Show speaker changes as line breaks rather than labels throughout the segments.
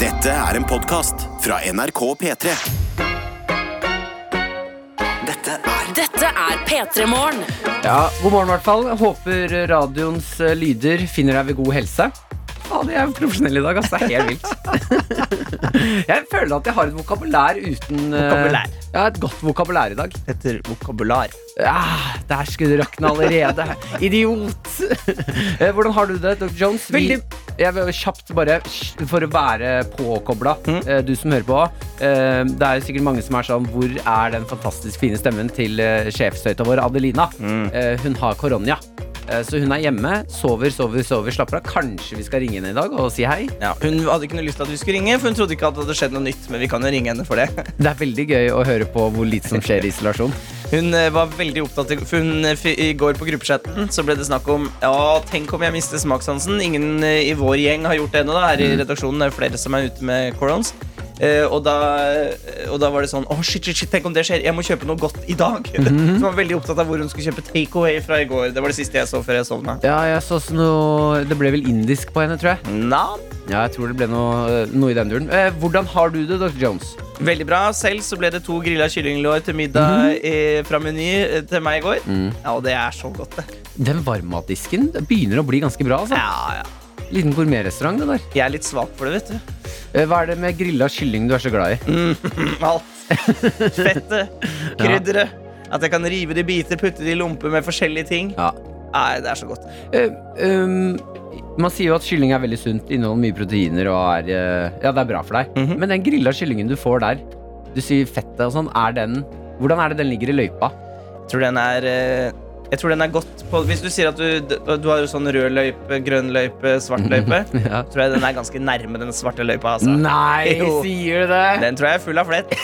Dette er en podkast fra NRK P3. Dette er
Dette er P3 Morgen.
Ja, God morgen, i hvert fall. Håper radioens eh, lyder finner deg ved god helse. Faen, jeg er profesjonell i dag, ass. Det er helt vilt. jeg føler at jeg har et vokabulær uten eh,
Vokabulær.
Ja, et godt vokabulær i dag.
heter vokabular.
Ah, der skulle det rakne allerede. Idiot! Eh, Hvordan har du det, Dr. Jones?
Veldig-
jeg vil kjapt bare, sj- for å være påkobla, eh, du som hører på. eh, Det er jo sikkert mange som er sånn Hvor er den fantastisk fine stemmen til eh, sjefsstøyta vår, Adelina? Eh, Hun har koronia. Eh, Så hun er hjemme, sover, sover, sover, slapper av. Kanskje vi skal ringe henne i dag og si hei?
Ja, hun hadde ikke noe lyst til at vi skulle ringe, for hun trodde ikke at det hadde skjedd noe nytt. Men vi kan jo ringe henne for det.
Det er veldig gøy å høre på hvor lite som skjer i isolasjon.
Hun eh, var veldig opptatt i- For hun, eh, fi- i går på gruppechatten så ble det snakk om Ja, tenk om jeg mister smakssansen. Ingen eh, i vår gjeng har gjort det ennå. da. Her i redaksjonen er det flere som er ute med corons. Eh, og, da, og da var det sånn Å, shit, shit, shit, tenk om det skjer. Jeg må kjøpe noe godt i dag. Så hun var veldig opptatt av hvor hun skulle kjøpe takeaway fra i går. Det var det siste jeg så før jeg sovna.
Ja, jeg så også noe Det ble vel indisk på henne, tror jeg.
Nam.
Ja, jeg tror det ble noe, noe i den duren. Eh, hvordan har du det, Dr. Jones?
Veldig bra. Selv så ble det to grilla kyllinglår til
Mhm.
middag eh, fra Meny eh, til meg i går.
Mm.
Ja, og det er så godt, det.
Den varmmatdisken det begynner å bli ganske bra. Altså.
Ja, ja.
Liten gourmetrestaurant, det der.
Jeg er litt svak for det, vet du.
Eh, hva er det med grilla kylling du er så glad
Mm.
i?
Alt. Fettet, krydderet. At jeg kan rive det i biter, putte det i lomper med forskjellige ting.
Ja.
Nei, det er så godt.
Eh, um, man sier jo at kylling er veldig sunt, inneholder mye proteiner og er eh, Ja, det er bra for deg.
Mhm.
Men den grilla kyllingen du får der, du sier fettet og sånn, er den Hvordan er det den ligger i løypa?
Jeg tror den er eh, jeg tror den er godt på Hvis du sier at du, du har jo sånn rød løype, grønn løype, svart løype,
Mhm. Ja.
tror jeg den er ganske nærme den svarte løypa. Altså.
Nei,
Jo.
sier du det?
Den tror jeg er full av flett.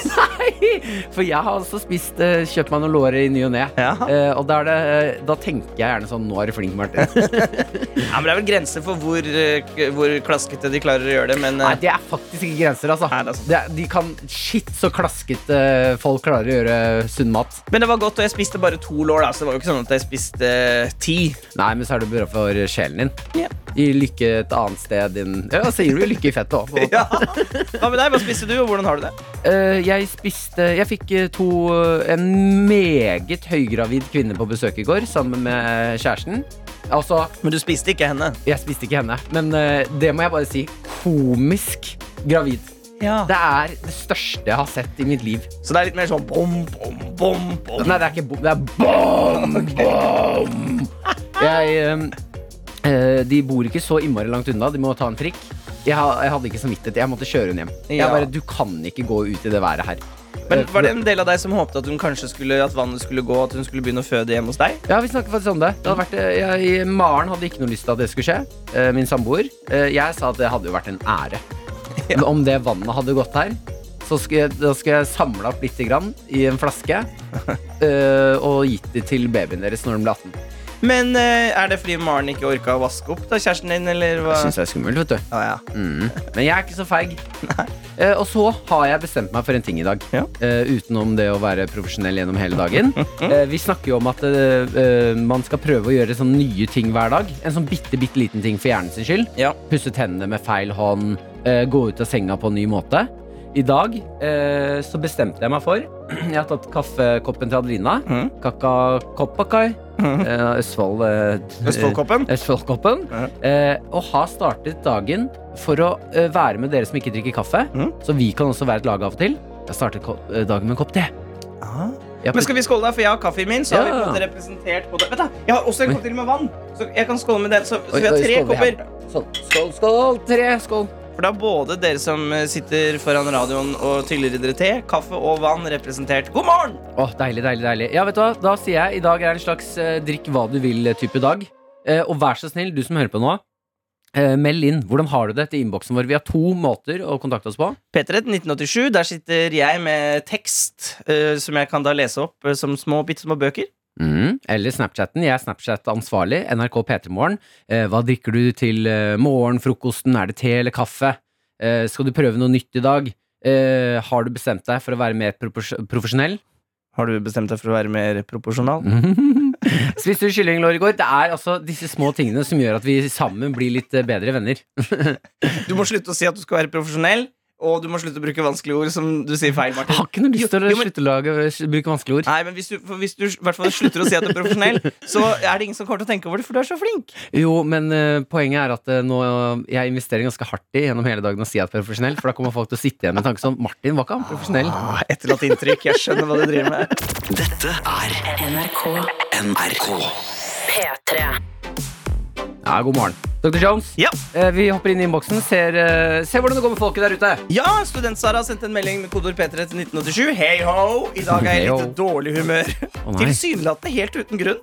For jeg har også spist eh, Kjøpt meg noen lårer i ny og ne.
Ja.
Eh, og da, er det, eh, da tenker jeg gjerne sånn Nå er du flink, Martin.
Ja, men Det er vel grenser for hvor, eh, k- hvor klaskete de klarer å gjøre det. Men
Nei,
eh,
det er faktisk ikke grenser, altså.
Nei, det er sant.
Det er- de kan Shit, så klaskete eh, folk klarer å gjøre sunn mat.
Men det var godt, og jeg spiste bare to lår. da Så det var jo ikke sånn at jeg spiste eh, ti.
Nei, men så er det bra for sjelen din.
Ja.
Gi lykke et annet sted inn Ja, så gir du lykke i fettet òg.
Ja. Hva med deg? Hva spiste du, og hvordan har du det?
Eh, jeg spiste Jeg fikk eh, to eh, En meget høygravid kvinne på besøk i går sammen med eh, kjæresten. Altså,
Men du spiste ikke henne.
jeg spiste ikke henne, men eh, det må jeg bare si. Komisk gravid.
Ja.
Det er det største jeg har sett i mitt liv.
Så det er litt mer sånn bom, bom, bom, bom.
Nei, det er ikke bom, det er bom, bom. Jeg, ehm, eh, de bor ikke så innmari langt unna, de må ta en trikk. Jeg, ha- jeg hadde ikke samvittighet, jeg måtte kjøre henne hjem. Jeg
Ja.
bare, du kan ikke gå ut i det været her. Eh,
Men Var det en del av deg som håpet at hun kanskje skulle, at vannet skulle gå, at hun skulle begynne å føde hjemme hos deg?
Ja, vi snakker faktisk om det. det hadde vært, eh, jeg, Maren hadde ikke noe lyst til at det skulle skje, eh, min samboer. Eh, Jeg sa at det hadde jo vært en ære. Men Om det vannet hadde gått her, så skulle jeg, da skulle jeg samla opp lite grann i en flaske eh, og gitt det til babyen deres når den ble 18.
Men eh, er det fordi Maren ikke orka å vaske opp da, kjæresten din, eller hva?
Det syns jeg er skummelt, vet du.
Ah, ja.
Mm. Men jeg er ikke så feig. Eh, og så har jeg bestemt meg for en ting i dag.
Ja.
Eh, utenom det å være profesjonell gjennom hele dagen. Eh, vi snakker jo om at eh, eh, man skal prøve å gjøre sånne nye ting hver dag. En sånn bitte, bitte liten ting for hjernen sin skyld.
Ja.
Pusse tennene med feil hånd. eh, gå ut av senga på en ny måte. I dag eh, så bestemte jeg meg for Jeg har tatt kaffekoppen til Adelina.
Mm.
Kakakopakai.
Mhm.
Eh, Østfold eh,
Østfoldkoppen?
Østfoldkoppen.
Ja.
Eh, og har startet dagen for å eh, være med dere som ikke drikker kaffe.
Mhm.
Så vi kan også være et lag av og til. Jeg startet ko- eh, dagen med en kopp te.
Ah.
Jeg
Men skal vi skåle, da? For jeg har kaffe i min. Så har vi
Ja.
på en måte representert både Vent, da! Jeg har også en kopp til med vann. Så jeg kan skåle med den. Så, så
Oi,
vi har
oi,
tre
skål, vi
kopper.
har- Sånn. Skål, skål, tre, skål.
For da er både dere som eh, sitter foran radioen og tyller i dere te, kaffe og vann representert. God morgen!
Åh, deilig, deilig, deilig. Ja, vet du hva? Da sier jeg i dag er en slags eh, drikk hva du vil-type dag. Eh, og vær så snill, du som hører på nå, eh, meld inn. Hvordan har du det til innboksen vår? Vi har to måter å kontakte oss på.
P3 1987, der sitter jeg med tekst eh, som jeg kan da lese opp eh, som små, bitte små bøker.
Mm, eller Snapchatten. Jeg er Snapchat-ansvarlig. NRK P3morgen. Eh, hva drikker du til eh, morgenfrokosten? Er det te eller kaffe? Eh, skal du prøve noe nytt i dag? Eh, har du bestemt deg for å være mer propos- profesjonell?
Har du bestemt deg for å være mer proporsjonal?
Spiste du kyllinglår i går? Det er altså disse små tingene som gjør at vi sammen blir litt eh, bedre venner.
Du må slutte å si at du skal være profesjonell, og du må slutte å bruke vanskelige ord som du sier feil,
Jeg
Martin.
har ikke noe lyst til
Jo,
å
jo, men-
slutte å lage- bruke vanskelige ord.
Nei, men hvis du, for hvis du i hvert fall slutter å si at du er profesjonell, så er det ingen som kommer til å tenke over det, for du er så flink.
Jo, men eh, poenget er at eh, nå, eh, jeg investerer ganske hardt i gjennom hele dagen å si at jeg er profesjonell, for da kommer folk til å sitte igjen med tanken sånn Martin var ikke han profesjonell.
Etterlatt inntrykk. Jeg skjønner hva du driver med.
Dette er
NRK
NRK.
P3.
Ja, god morgen. Dr. Jones,
Ja,
eh, vi hopper inn i innboksen. Ser, eh, ser hvordan det går med folket der ute.
ja Student-Sara har sendt en melding med kodeord P3 til 1987. Hei ho! I dag er jeg i
Hey ho.
litt dårlig humør.
Å, nei.
Tilsynelatende helt uten grunn.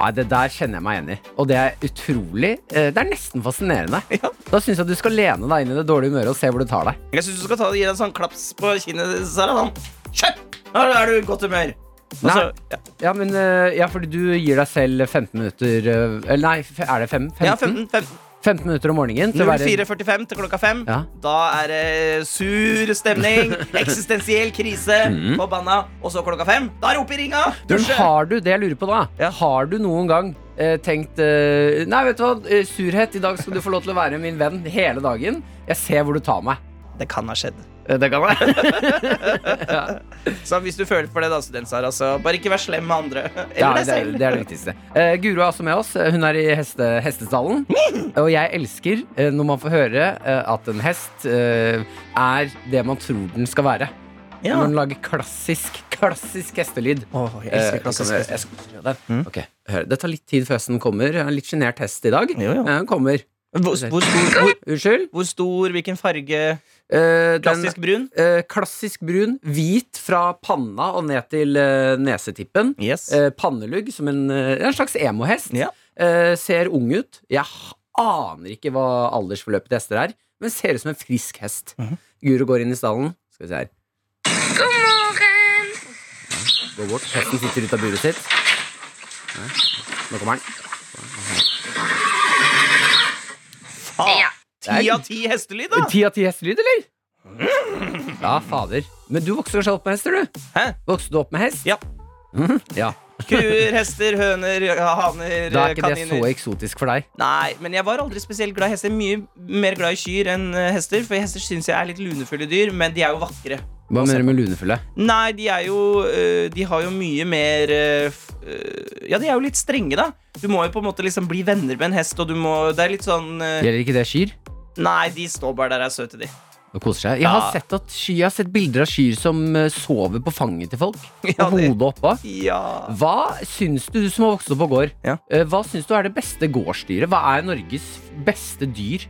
Nei, Det der kjenner jeg meg igjen i. Og det er utrolig eh, Det er nesten fascinerende.
Ja.
Da syns jeg at du skal lene deg inn i det dårlige humøret og se hvor det tar deg.
Jeg syns du skal ta, gi deg en sånn klaps på kinnet, Sara. Sånn. Kjøp! Nå er du i godt humør. Altså, Og så-
Nei. Ja, men eh, ja, fordi du gir deg selv 15 minutter eh, Eller nei, f- er det fem? 15?
ja, ja, 15, 15.
15 minutter om morgenen. til å være-
04.45 til klokka fem.
Ja.
Da er det sur stemning, eksistensiell krise, forbanna. Og så klokka fem. Da er det opp i ringa!
Men
Dusje!
har Mm. du det jeg lurer på da?
Ja.
Har du noen gang eh, tenkt eh, Nei, vet du hva, eh, surhet, i dag skal du få lov til å være min venn hele dagen. Jeg ser hvor du tar meg.
Det kan ha skjedd.
Eh, Det kan være.
Så hvis du føler for det, da, student Sara, så bare ikke vær slem med andre. Eller
Ja,
deg
det, er,
selv.
det er det viktigste. Eh, Guro er også med oss. Hun er i heste, hestestallen. Og jeg elsker eh, når man får høre eh, at en hest eh, er det man tror den skal være.
Ja.
Når den lager klassisk, klassisk hestelyd.
Åh, jeg
Eh,
elsker klassisk Mm.
kan jeg-
hest.
jeg skal- der. Ok, hør. Det tar litt tid før hesten kommer. Jeg er en litt sjenert hest i dag.
Jo, jo.
Eh, Den kommer.
Hvor, hvor, stor, hvor,
Unnskyld?
hvor stor, hvilken farge?
Eh,
Klassisk
den,
brun?
eh, klassisk brun. Hvit fra panna og ned til eh, nesetippen.
Yes.
Eh, pannelugg som en, eh, en slags emohest.
Ja.
Eh, ser ung ut. Jeg h- aner ikke hva aldersforløpet til hester er, men ser ut som en frisk hest. Guro går inn i stallen. Skal vi se her. God morgen! Går bort. Hesten sitter ut av buret sitt. Nei, Nå kommer den.
Ah,
er-
Ti av ti hestelyd, da!
Ti av ti hestelyd, eller? Ja, fader. Men du vokste kanskje opp med hester, du?
Hæ?
Vokste du opp med hest?
Ja.
Mhm, ja.
Kuer, hester, høner, haner,
Da er ikke det så
kaniner.
eksotisk for deg.
Nei, men jeg var aldri spesielt glad i hester. Mye mer glad i kyr enn eh, hester, for hester syns jeg er litt lunefulle dyr, men de er jo vakre.
Hva mener du med lunefulle?
Nei, de er jo eh, De har jo mye mer eh, f- eh, Ja, de er jo litt strenge, da. Du må jo på en måte liksom bli venner med en hest, og du må Det er litt sånn eh,
Gjelder ikke det kyr?
Nei, de står bare der og er søte, de.
Og koser seg. Jeg har,
Ja.
sett at ky, jeg har sett bilder av kyr som eh, sover på fanget til folk.
Ja,
og
det-
hodet oppå.
Ja
Hva syns du, du som har vokst opp på gård,
Ja.
eh, hva syns du er det beste gårdsdyret? Hva er Norges beste dyr?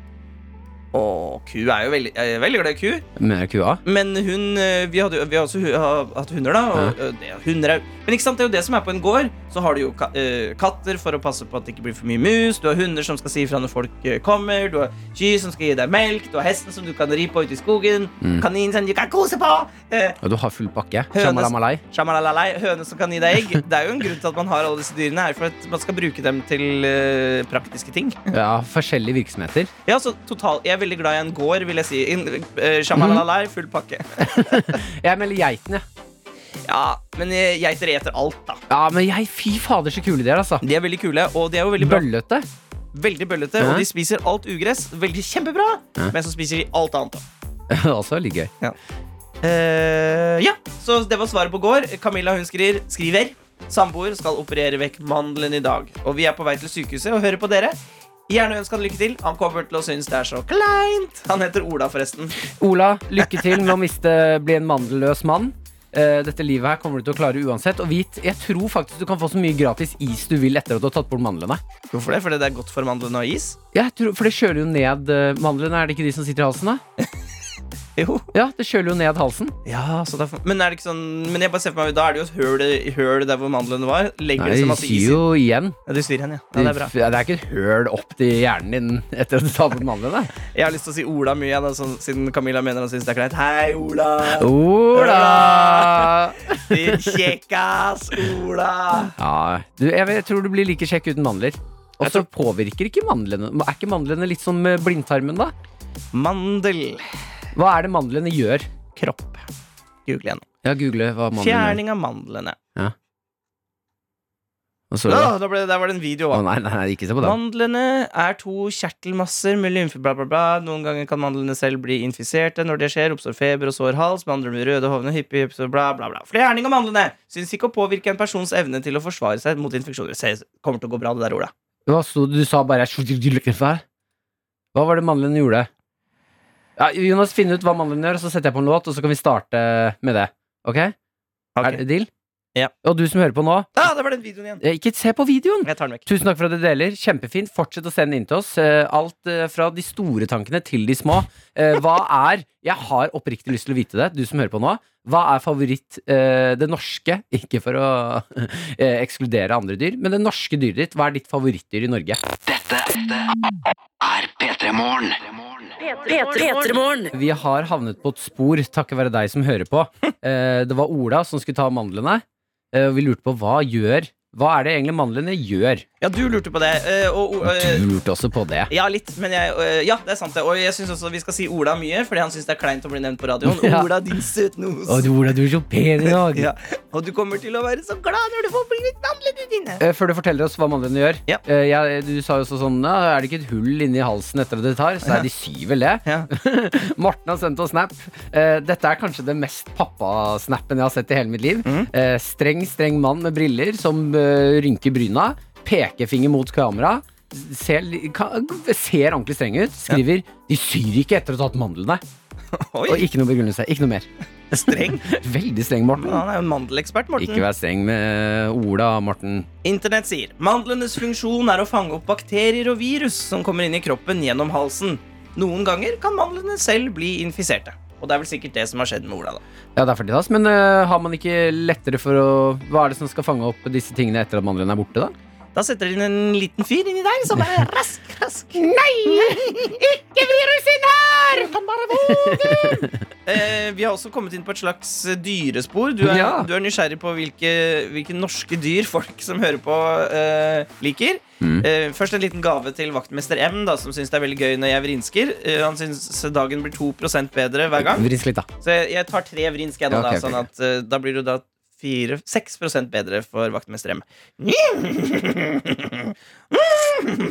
Å, ku er jo veldig Jeg er veldig glad i ku.
Mener kua?
Men hun eh, Vi, hadde, jo- vi har også hu- ha- hatt hunder, da. Og, og det, hunder er, men ikke sant, det er jo det som er på en gård. Så har du jo ka, eh, katter for å passe på at det ikke blir for mye mus. Du har hunder som skal si ifra når folk eh, kommer. Du har kyr som skal gi deg melk. Du har hesten som du kan ri på ute i skogen. Kanin som du kan kose på. Eh,
Ja, du har full pakke.
Hønes-
Shamalamalai.
Shamalalalai, høne som kan gi deg egg. Det er jo en grunn til at man har alle disse dyrene her, for at man skal bruke dem til eh, praktiske ting.
Ja, forskjellige virksomheter.
Ja, så total, Jeg er veldig glad i en gård, vil jeg si. In- eh, Shamalalalai, full pakke.
Jeg melder geiten, jeg.
Ja, men eh, geiter eter alt, da.
Ja, men jeg, fy fader, så kule de er, altså.
De er veldig kule, og de er jo veldig bra.
Bøllete.
Veldig bøllete,
Ja.
og de spiser alt ugress. Veldig kjempebra, men så spiser de alt annet. da.
Også litt gøy.
Eh, ja, så det var svaret på gård. Camilla hun skriver, skriver Samboer skal operere vekk mandelen i dag. Og vi er på vei til sykehuset og hører på dere. Gjerne ønsk han lykke til. Han kommer til å synes det er så kleint. Han heter Ola, forresten.
Ola, lykke til med å miste, bli en mandelløs mann. Eh, dette livet her kommer du til å klare uansett. Og vit, jeg tror faktisk du kan få så mye gratis is du vil etter at du har tatt bort mandlene.
Hvorfor det? Fordi det er godt for mandlene og is?
Jeg tror, for det kjøler jo ned eh, mandlene, er det ikke de som sitter i halsen? da?
Jo.
Ja, det kjøler jo ned halsen.
Ja, så derfor. Men er det ikke sånn Men jeg bare ser for meg, da er det jo et høl, høl der hvor mandlene var. Legger
Nei,
det så
de
masse is
sier
i.
jo igjen.
Ja, du syr igjen, ja. ja.
Det
Det er bra.
det er ikke et høl opp til hjernen din etter at du tar bort mandlene.
Jeg har lyst til å si Ola mye, jeg, da, sånn, siden Camilla mener han syns det er kleint. Hei, Ola!
Ola!
Din kjekkas Ola!
Ja, du, jeg, vet- jeg tror du blir like kjekk uten mandler. Og så påvirker ikke mandlene Er ikke mandlene litt som eh, blindtarmen, da?
Mandel.
Hva er det mandlene gjør?
Kropp. Google igjen.
Ja, google hva mandlene
Fjerning av mandlene.
Ja. Og så,
Da, da ble det, der var det en video.
Å
da.
nei, nei, nei, ikke se på den.
Mandlene er to kjertelmasser med lymfe, bla, bla, bla. Noen ganger kan mandlene selv bli infiserte. Når det skjer, oppstår feber og sår hals. Med andre blir røde hovne, hyppig, hyppig, bla, bla, bla. Flerning av mandlene syns ikke å påvirke en persons evne til å forsvare seg mot infeksjoner. Se, kommer til å gå bra, det der, Ola.
Hva sto det du sa bare Hva var det mandlene gjorde? Ja, Jonas, finn ut hva mandlene gjør, og så setter jeg på en låt, og så kan vi starte med det. Ok? Er det deal?
Ja.
Og du som hører på nå,
Da, der var den videoen igjen.
eh, ikke se på videoen!
Jeg tar den vekk.
Tusen takk for at du deler. Kjempefint. Fortsett å sende inn til oss. eh, Alt eh, fra de store tankene til de små. Eh, Hva er Jeg har oppriktig lyst til å vite det, du som hører på nå. Hva er favoritt eh, det norske? Ikke for å eh, ekskludere andre dyr, men det norske dyret ditt. Hva er ditt favorittdyr i Norge?
Dette er P3 Morgen.
P3morgen.
Vi har havnet på et spor takket være deg som hører på. Eh, Det var Ola som skulle ta mandlene, eh, og vi lurte på hva gjør Hva er det egentlig mandlene gjør?
Ja, du lurte på det. eh, Og, og, eh,
Du lurte også på det.
Ja, litt, men jeg, øh, ja, det er sant det. Og jeg syns også vi skal si Ola mye, fordi han syns det er kleint å bli nevnt på radioen.
Ja.
Ola, din søtnos.
Å, du, Ola, du er så pen i dag.
Ja. Og du kommer til å være så glad når du får bli litt mandlene dine.
Eh, Før du forteller oss hva mandlene gjør
Ja.
eh, jeg, Du sa jo også sånn «Ja, Er det ikke et hull inni halsen etter at det tar? Så er de syv vel det
Ja.
Morten har sendt oss snap Eh, Dette er kanskje det mest pappa-snappen jeg har sett i hele mitt liv
Mm.
Eh, Streng, streng mann med briller Som eh, rynker bryna Pekefinger mot kamera Ser, li- ka- ser ordentlig streng ut Skriver De syr ikke etter å ha tatt mandlene Og
Oi,
ikke noe begrunnelse, ikke noe mer
streng.
Veldig streng, Morten
Men han er jo en mandelekspert, Morten.
Ikke vær streng med Ola, Morten
Internett sier mandlenes funksjon er å fange opp bakterier og virus som kommer inn i kroppen gjennom halsen. Noen ganger kan mandlene selv bli infiserte. Og det er vel sikkert det som har skjedd med Ola, da.
Ja, det er for tidas, men øh, har man ikke lettere for å Hva er det som skal fange opp disse tingene etter at mandlene er borte, da?
Da setter de inn en liten fyr inni deg som er rask, rask. Nei! Ikke virus inn her! Kan bare våge! Eh, vi har også kommet inn på et slags dyrespor. Du er,
Ja.
du er nysgjerrig på hvilke, hvilke norske dyr folk som hører på, eh, liker.
Mm.
Eh, først en liten gave til vaktmester M, da, som syns det er veldig gøy når jeg vrinsker. Eh, han syns dagen blir 2 bedre hver gang.
Vrisk litt, da.
Så jeg, jeg tar tre vrinsk, jeg
Ja,
nå,
ok,
da, sånn
ok.
at eh, da blir det jo da 4, 6 bedre for vaktmester M.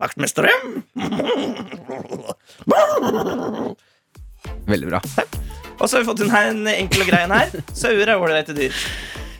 Vaktmester M!
Veldig bra.
Og så har vi fått inn her en enkel og grei en her. Sauer er ålreite dyr.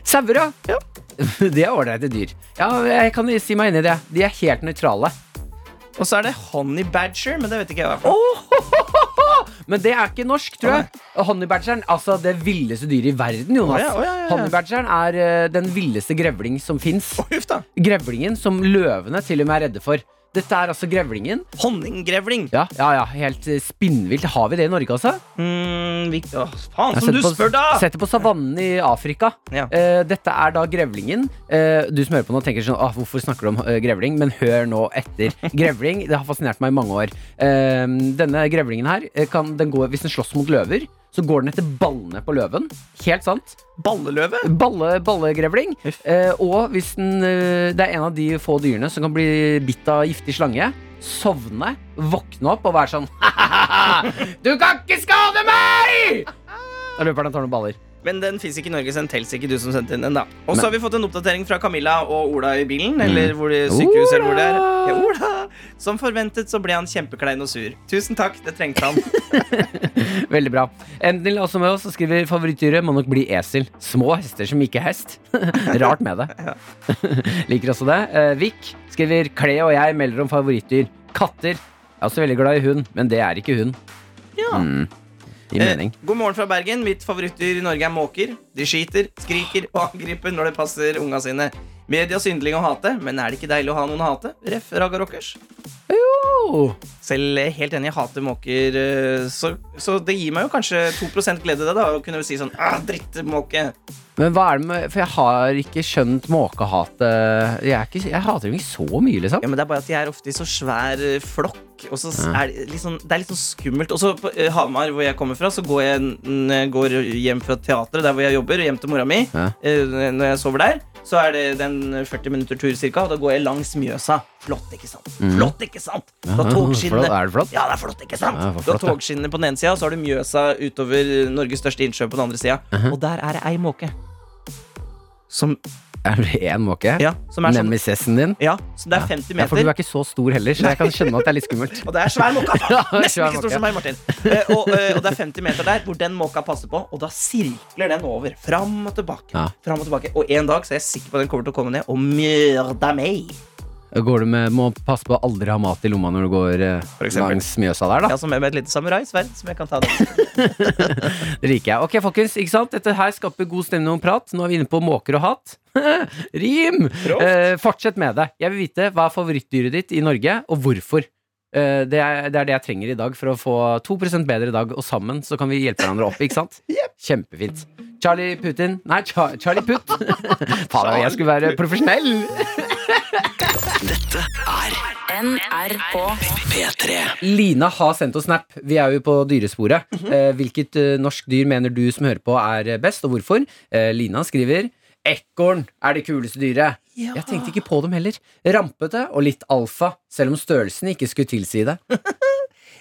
Sauer, ja. De er ålreite dyr. Ja, jeg kan si meg enig i det. De er helt nøytrale.
Og så er det honey badger, men det vet ikke jeg hva er. for noe.
Men det er ikke norsk, tror jeg. Honeybadgeren, altså det villeste dyret i verden, Jonas.
Å ja, å ja, ja, ja.
Honeybadgeren er øh, den villeste grevling som fins.
Å, Huff, da.
Grevlingen som løvene til og med er redde for. Dette er altså grevlingen.
Honninggrevling.
Ja, ja, ja helt øh, spinnvilt. Har vi det i Norge, altså?
Mm, vi, å, faen,
Jeg
som du
setter på-
spør, da!
Setter på savannen i Afrika.
Ja.
Eh, dette er da grevlingen. Eh, du som hører på nå, tenker sånn ah, Hvorfor snakker du om eh, grevling? Men hør nå etter. Grevling det har fascinert meg i mange år. Eh, denne grevlingen her, eh, kan, den går, hvis den slåss mot løver, så går den etter ballene på løven. Helt sant.
Balleløve?
Balle, ballegrevling.
Uff.
Eh, og hvis den eh, Det er en av de få dyrene som kan bli bitt av giftig slange. Sovne, våkne opp og være sånn Du kan ikke skade meg! Da løper han og tar noen baller.
Men den fins ikke i Norge, så den tels ikke, du som sendte inn den, da. Og så har vi fått en oppdatering fra Camilla og Ola i bilen,
Mm.
eller hvor det sykehuset eller hvor det er. Ja, Ola! Som forventet så ble han kjempeklein og sur. Tusen takk, det trengte han.
Veldig bra. Endelig også med oss så skriver favorittdyret må nok bli esel. Små hester som ikke er hest. Rart med det. Liker også det. Eh, Vik skriver Kle og jeg melder om favorittdyr. Katter. Jeg er også veldig glad i hund, men det er ikke hund.
Ja.
Mm. Gir mening.
Eh, god morgen fra Bergen. Mitt favorittdyr i Norge er måker. De skiter, skriker og angriper når det passer unga sine. Media syndling å hate, men er det ikke deilig å ha noen å hate? Ref. Raga Rockers.
Oh.
Selv eh, helt enig, jeg hater måker, eh, så, så det gir meg jo kanskje 2 glede, det, da, å kunne si sånn ah, drittmåke.
Men hva er det med For jeg har ikke skjønt måkehatet. Jeg, er ikke- jeg hater dem ikke så mye, liksom.
Ja, men Det er bare at de er ofte i så svær eh, flokk. Og så s- er det, litt sånn, det er litt sånn skummelt. Og så på eh, Hamar, hvor jeg kommer fra, så går jeg n- når jeg går hjem fra teatret, der hvor jeg jobber, og hjem til mora mi.
Ja.
eh, Når jeg sover der, så er det den 40 minutter tur cirka, og da går jeg langs Mjøsa. Flott, ikke sant? Flott, ikke sant? Da
Mhm.
togskinnene
flott. Er det flott?
Ja, det er flott, ikke sant?
Ja, det var
du har
flott, ja.
togskinnene på den ene sida, og så har du Mjøsa
Mhm.
utover Norges største innsjø på den andre sida. Og der er det ei måke som
Er du én måke?
Ja, som er sånn
Nemesissen din?
ja, så det er 50
Ja, for du
meter.
er ikke så stor heller, så jeg kan skjønne at det er litt skummelt.
Og det er svær måka!
Ja,
Nesten
svær
ikke stor
måke.
som meg, Martin. Eh, Og, eh, og det er 50 meter der hvor den måka passer på, og da sirkler den over. Fram og tilbake.
Ja.
Fram og tilbake. Og en dag så er jeg sikker på at den kommer til å komme ned og myrde meg.
Går du med, Må passe på å aldri ha mat i lomma når du går eh,
For eksempel.
langs Mjøsa der, da.
Ja, som er med et lite samuraisverd som jeg kan ta den.
Det liker jeg. Ok, folkens, ikke sant? Dette her skaper god stemning og prat. Nå er vi inne på måker og hatt. Rim!
Rått.
Eh, fortsett med det. Jeg vil vite hva er favorittdyret ditt i Norge, og hvorfor. Eh, det, er, det er det jeg trenger i dag for å få 2 bedre i dag, og sammen så kan vi hjelpe hverandre opp. ikke sant? Kjempefint. Charlie Putin Nei, Char Charlie Putt. Faen, jeg skulle være profesjonell!
NRK
P3.
Lina har sendt oss snap. Vi er jo på dyresporet. Eh, hvilket eh, norsk dyr mener du som hører på er eh, best, og hvorfor? Eh, Lina skriver Ekorn er det kuleste dyret. Jeg tenkte ikke på dem heller. Rampete og litt alfa, selv om størrelsen ikke skulle tilsi det.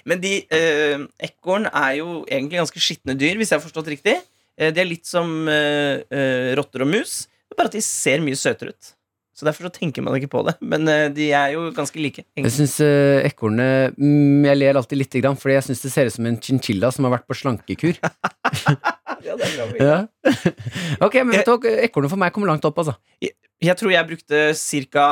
Men de eh, ekorn er jo egentlig ganske skitne dyr, hvis jeg har forstått riktig. Eh, de er litt som eh, eh, rotter og mus, det er bare at de ser mye søtere ut. Så derfor så tenker man ikke på det. Men eh, de er jo ganske like.
Jeg
egentlig.
syns uh, ekornet mm, Jeg ler alltid lite grann, fordi jeg syns det ser ut som en chinchilla som har vært på slankekur.
Ja, det er bra, Mia.
Ja. ok, men vet du hva, ekornet for meg kommer langt opp, altså.
Jeg tror jeg brukte ca.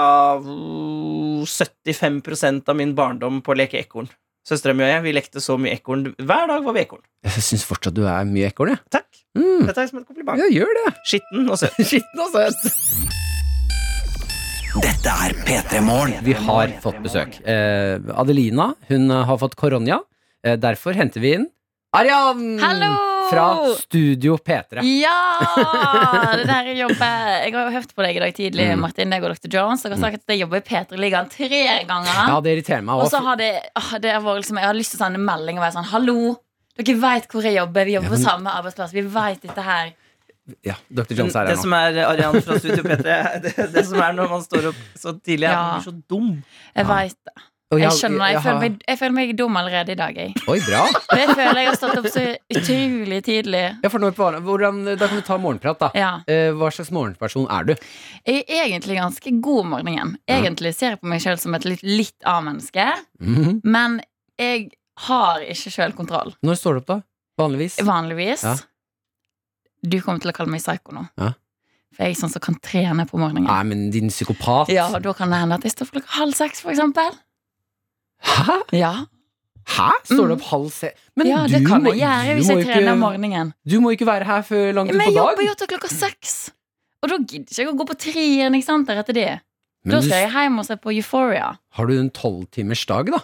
75 av min barndom på å leke ekorn. Søstera mi og jeg vi lekte så mye ekorn. Hver dag var vi ekorn.
Jeg syns fortsatt du er mye ekorn, jeg.
Takk.
Mm.
Dette er som et kompliment.
Ja, gjør det.
Skitten og søt.
Skitten og søt.
Dette er P3 Morgen.
Vi har fått besøk. Eh, Adelina hun eh, har fått koronia. Eh, derfor henter vi inn Arian!
Hallo!
Fra Studio P3.
Ja! Det der jeg jobber Jeg har jo hørt på deg i dag tidlig,
Mm.
Martin. Deg og Dr. Jones. Dere har sagt at jeg jobber i P3-ligaen tre ganger.
Ja, det irriterer meg
og så
også.
har det, åh, det har vært liksom, Jeg har lyst til å sende en melding og være sånn Hallo! Dere veit hvor jeg jobber. Vi jobber
Ja, men-
på samme arbeidsplass. Vi veit dette her.
Ja, Dr.
Men
Jones er
det
her nå.
som er eh, Arian fra Studio P3 det, det som er når man står opp så tidlig, er at man
Ja.
blir så dum.
Jeg
Ja.
vet det.
Og
Jeg skjønner det. Jeg,
har-
føler meg, jeg føler meg dum allerede i dag, jeg.
Oi, bra.
For jeg føler jeg har stått opp så utrolig tidlig.
Ja, for når på, hvordan, da kan vi ta morgenprat, da.
Ja.
Eh, hva slags morgenperson er du?
Jeg er egentlig ganske god om morgenen. Egentlig ser jeg på meg sjøl som et litt, litt A-menneske.
Mhm.
Men jeg har ikke selvkontroll
Når står du opp, da? Vanligvis?
Vanligvis
Ja.
Du kommer til å kalle meg psyko nå
Ja.
For jeg er sånn som kan trene på morgenen
Nei, men din psykopat.
Ja, og da kan det hende at jeg står for klokka halv seks for eksempel
Hæ?
Ja,
Hæ? Står du opp halv se... Men
Mm. ja
du,
det kan
må,
jeg gjøre
du,
hvis
må
jeg trener om
ikke,
morgenen
du må ikke være her før langt
Ja, Men
utpå
jeg
dag.
jobber jo til klokka seks Og da gidder ikke jeg å gå på trien, ikke sant, der etter det
Men
Da
du
skal jeg hjem og se på Euphoria
Har du en tolvtimersdag, da?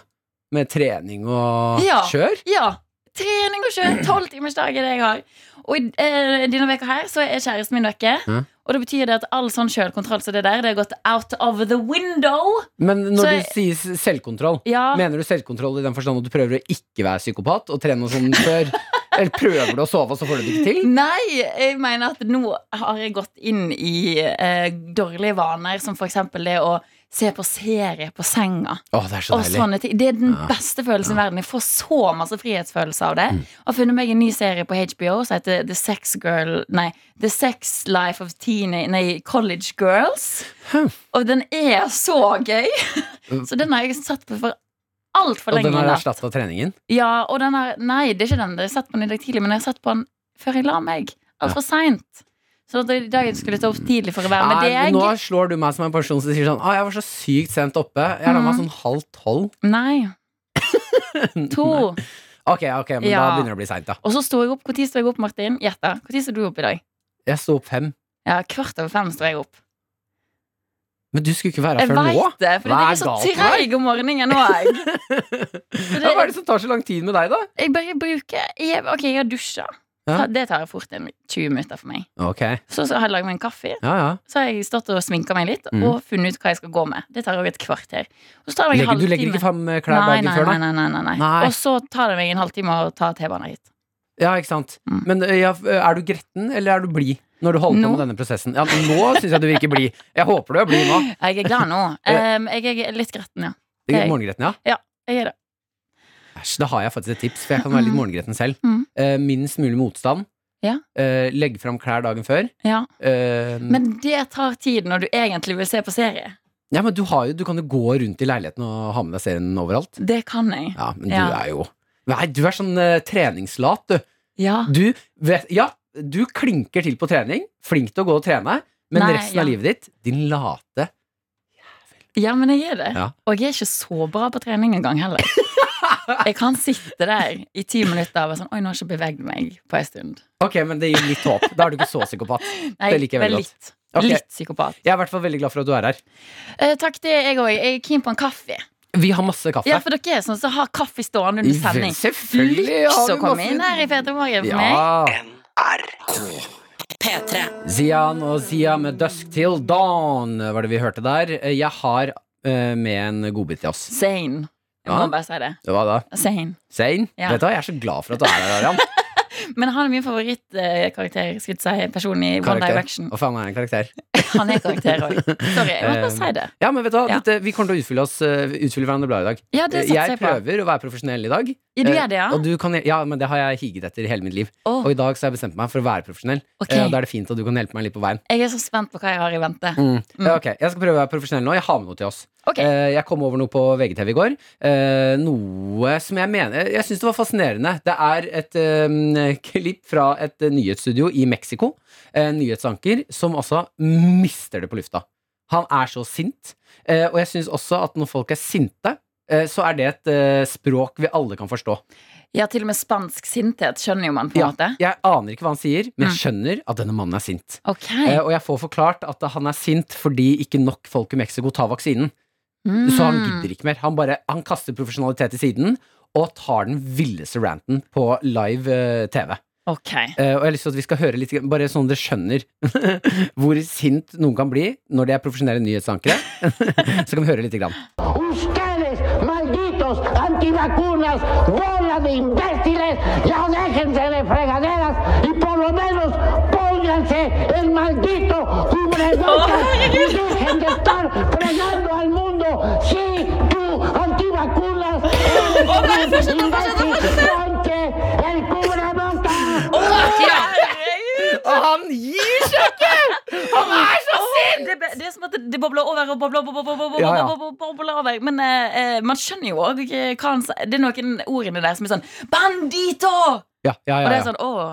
Med trening og
Ja.
kjør?
Ja, trening og kjønn, tolv timers dag er det jeg har. Og i eh, denne veka her så er kjæresten min vekke.
Mhm.
Og det betyr det at all sånn sjølkontroll som det der, det har gått out of the window.
Men når
Så
du sier s- selvkontroll,
Ja,
mener du selvkontroll i den forstand at du prøver å ikke være psykopat og trene og sånn før? Eller prøver du å sove, og så får du det ikke til?
Nei, jeg mener at nå har jeg gått inn i eh, dårlige vaner, som for eksempel det å se på serie på senga.
Å, det er så
og
deilig.
sånne ting. Det er den
Ja. Mm.
beste følelsen i verden. Jeg får så masse frihetsfølelse av det. Jeg har funnet meg en ny serie på HBO som heter The Sex Girl Nei, The Sex Life of Teeny Nei, College Girls.
Hm.
Og den er så gøy! så den har jeg satt på for altfor
Og
lenge.
den har
i natt.
erstatta treningen?
Ja, og den har Nei, det er ikke den. Jeg har sett på den i dag tidlig, men jeg har sett på den før jeg la meg. Altfor seint. Så da i dag skulle jeg stå opp tidlig for å være med
Nei, men nå
deg.
slår du meg som en person som sier sånn Å, jeg var så sykt sent oppe. Jeg la meg
Mm.
sånn halv tolv.
Nei. To.
Ok, ok, men da
Ja.
begynner det å bli seint, da.
Og så sto jeg opp. Når sto jeg opp, Martin? Gjett da. Når sto du opp i dag?
Jeg sto opp fem.
Ja, Kvart over fem sto jeg opp.
Men du skulle ikke være her
Jeg
før nå?
veit det, for
Hva
jeg
er
er så
galt med deg?
treig om morgenen nå. Jeg. Så
Ja, Hva er
det,
det som tar så lang tid med deg, da?
jeg bare bruker jeg, Ok, jeg har dusja.
Ja.
Det tar fort en 20 minutter for meg.
Ok,
Så, så har jeg lagd meg en kaffe.
ja ja.
Så har jeg stått og sminka meg litt
Mm.
og funnet ut hva jeg skal gå med. Det tar også et kvarter. Og så tar det meg en
Legger, du
halvtime.
legger ikke fram eh, klær
nei,
dagen
nei,
før, da?
nei, nei, nei, nei.
Nei.
Og så tar det meg en halvtime å ta T-banen hit.
Ja, ikke sant.
Mm.
Men ø, ja, f- er du gretten, eller er du blid når du holder
Nå.
på med denne prosessen? Ja, nå syns jeg du virker blid. Jeg håper du er blid nå.
Jeg er glad nå. Em, jeg er litt gretten, ja.
Du Eh. er
Ok.
Morgengretten, ja.
Jeg er det.
Æsj, da har jeg faktisk et tips, for jeg kan være litt
Mm.
morgengretten selv.
Mm.
Eh, minst mulig motstand.
Ja.
eh, legge fram klær dagen før.
Ja.
eh,
Men det tar tid når du egentlig vil se på serie.
ja, men du, har jo, du kan jo gå rundt i leiligheten og ha med deg serien overalt.
Det kan jeg.
Ja, men du
Ja.
er jo Nei, du er sånn eh, treningslat, du.
Ja.
Du, vet, ja, du klinker til på trening, flink til å gå og trene, men
Nei,
resten
ja.
av livet ditt, din late
Ja, men jeg er det.
Ja.
Og jeg er ikke så bra på trening engang heller. Jeg kan sitte der i ti minutter og være sånn Oi, nå har jeg ikke beveget meg på en stund.
Ok, men det gir litt håp. Da er du ikke så psykopat.
Nei,
Det liker jeg veldig
vel
godt.
Litt,
Ok.
litt psykopat.
Jeg er i hvert fall veldig glad for at du er her.
Eh, takk, det er jeg òg. Jeg er keen på en kaffe.
Vi har masse kaffe.
Ja, for dere er sånn som har kaffe stående under sending.
Selvfølgelig har
Så
vi
kom
masse-
inn her i Peter Morgen for meg.
Ja.
NRK P3
Zian og Zia med Dusk Till Dawn var det vi hørte der. Jeg har eh, med en godbit til oss.
Sane. Jeg
Ja.
må bare si det.
Hva da?
Sane.
Zain?
Ja.
Vet du hva, jeg er så glad for at du er her, Arian.
Men han er min favorittkarakter, skulle jeg si, person i One
Karakter.
Direction.
Hva faen er en karakter?
Han er karakter òg. Sorry, jeg må bare si det.
Ja, men vet du hva,
Ja.
Dette, vi kommer til å utfylle, oss, eh, utfylle hverandre bra i dag.
Ja, det satser
Eh, Jeg
jeg på.
prøver å være profesjonell i dag.
Ja, du
Eh,
gjør det, ja?
Og du kan, ja, men det har jeg higet etter i hele mitt liv.
Åh.
Og i dag så har jeg bestemt meg for å være profesjonell.
Ok.
Eh, og da er det fint at du kan hjelpe meg litt på veien.
Jeg er så spent på hva jeg har i vente.
Ja, Ok, Jeg skal prøve å være profesjonell nå. Jeg har med noe til oss.
Ok.
Eh, Jeg kom over noe på VGTV i går. Eh, Noe som jeg mener Jeg syns det var fascinerende. Det er et eh, klipp fra et eh, nyhetsstudio i Mexico. En nyhetsanker som altså mister det på lufta. Han er så sint. Eh, Og jeg syns også at når folk er sinte, eh, så er det et eh, språk vi alle kan forstå.
Ja, til og med spansk sinthet skjønner jo man på en
Ja,
måte.
jeg aner ikke hva han sier, men jeg
Mm.
skjønner at denne mannen er sint.
Ok.
Eh, Og jeg får forklart at han er sint fordi ikke nok folk i Mexico tar vaksinen.
Mm.
Så han gidder ikke mer. Han, bare, han kaster profesjonalitet til siden og tar den villeste ranten på live eh, TV.
Ok.
Eh, og jeg har lyst til at vi skal høre litt, grann, bare sånn dere skjønner hvor sint noen kan bli når de er profesjonelle nyhetsankere. Så kan vi høre litt. Grann.
Ustedes, malditos antivacunas, bola de imbéciles, ya déjense de fregaderas y por lo menos pónganse el maldito cubrebocas y dejen de estar fregando al mundo. Sí, tú, antivacunas, eres un imbécil, ponte el cubrebocas.
Og han gir seg!
Det, det er som at det bobler over og bobler, bobler, bobler, bobler,
Ja, ja.
bobler, bobler, bobler over. Men eh, eh, man skjønner jo òg hva han sier. Det er noen ordene der som er sånn Bandito!
Ja, ja,
Og
ja,
det er
ja.
sånn Å,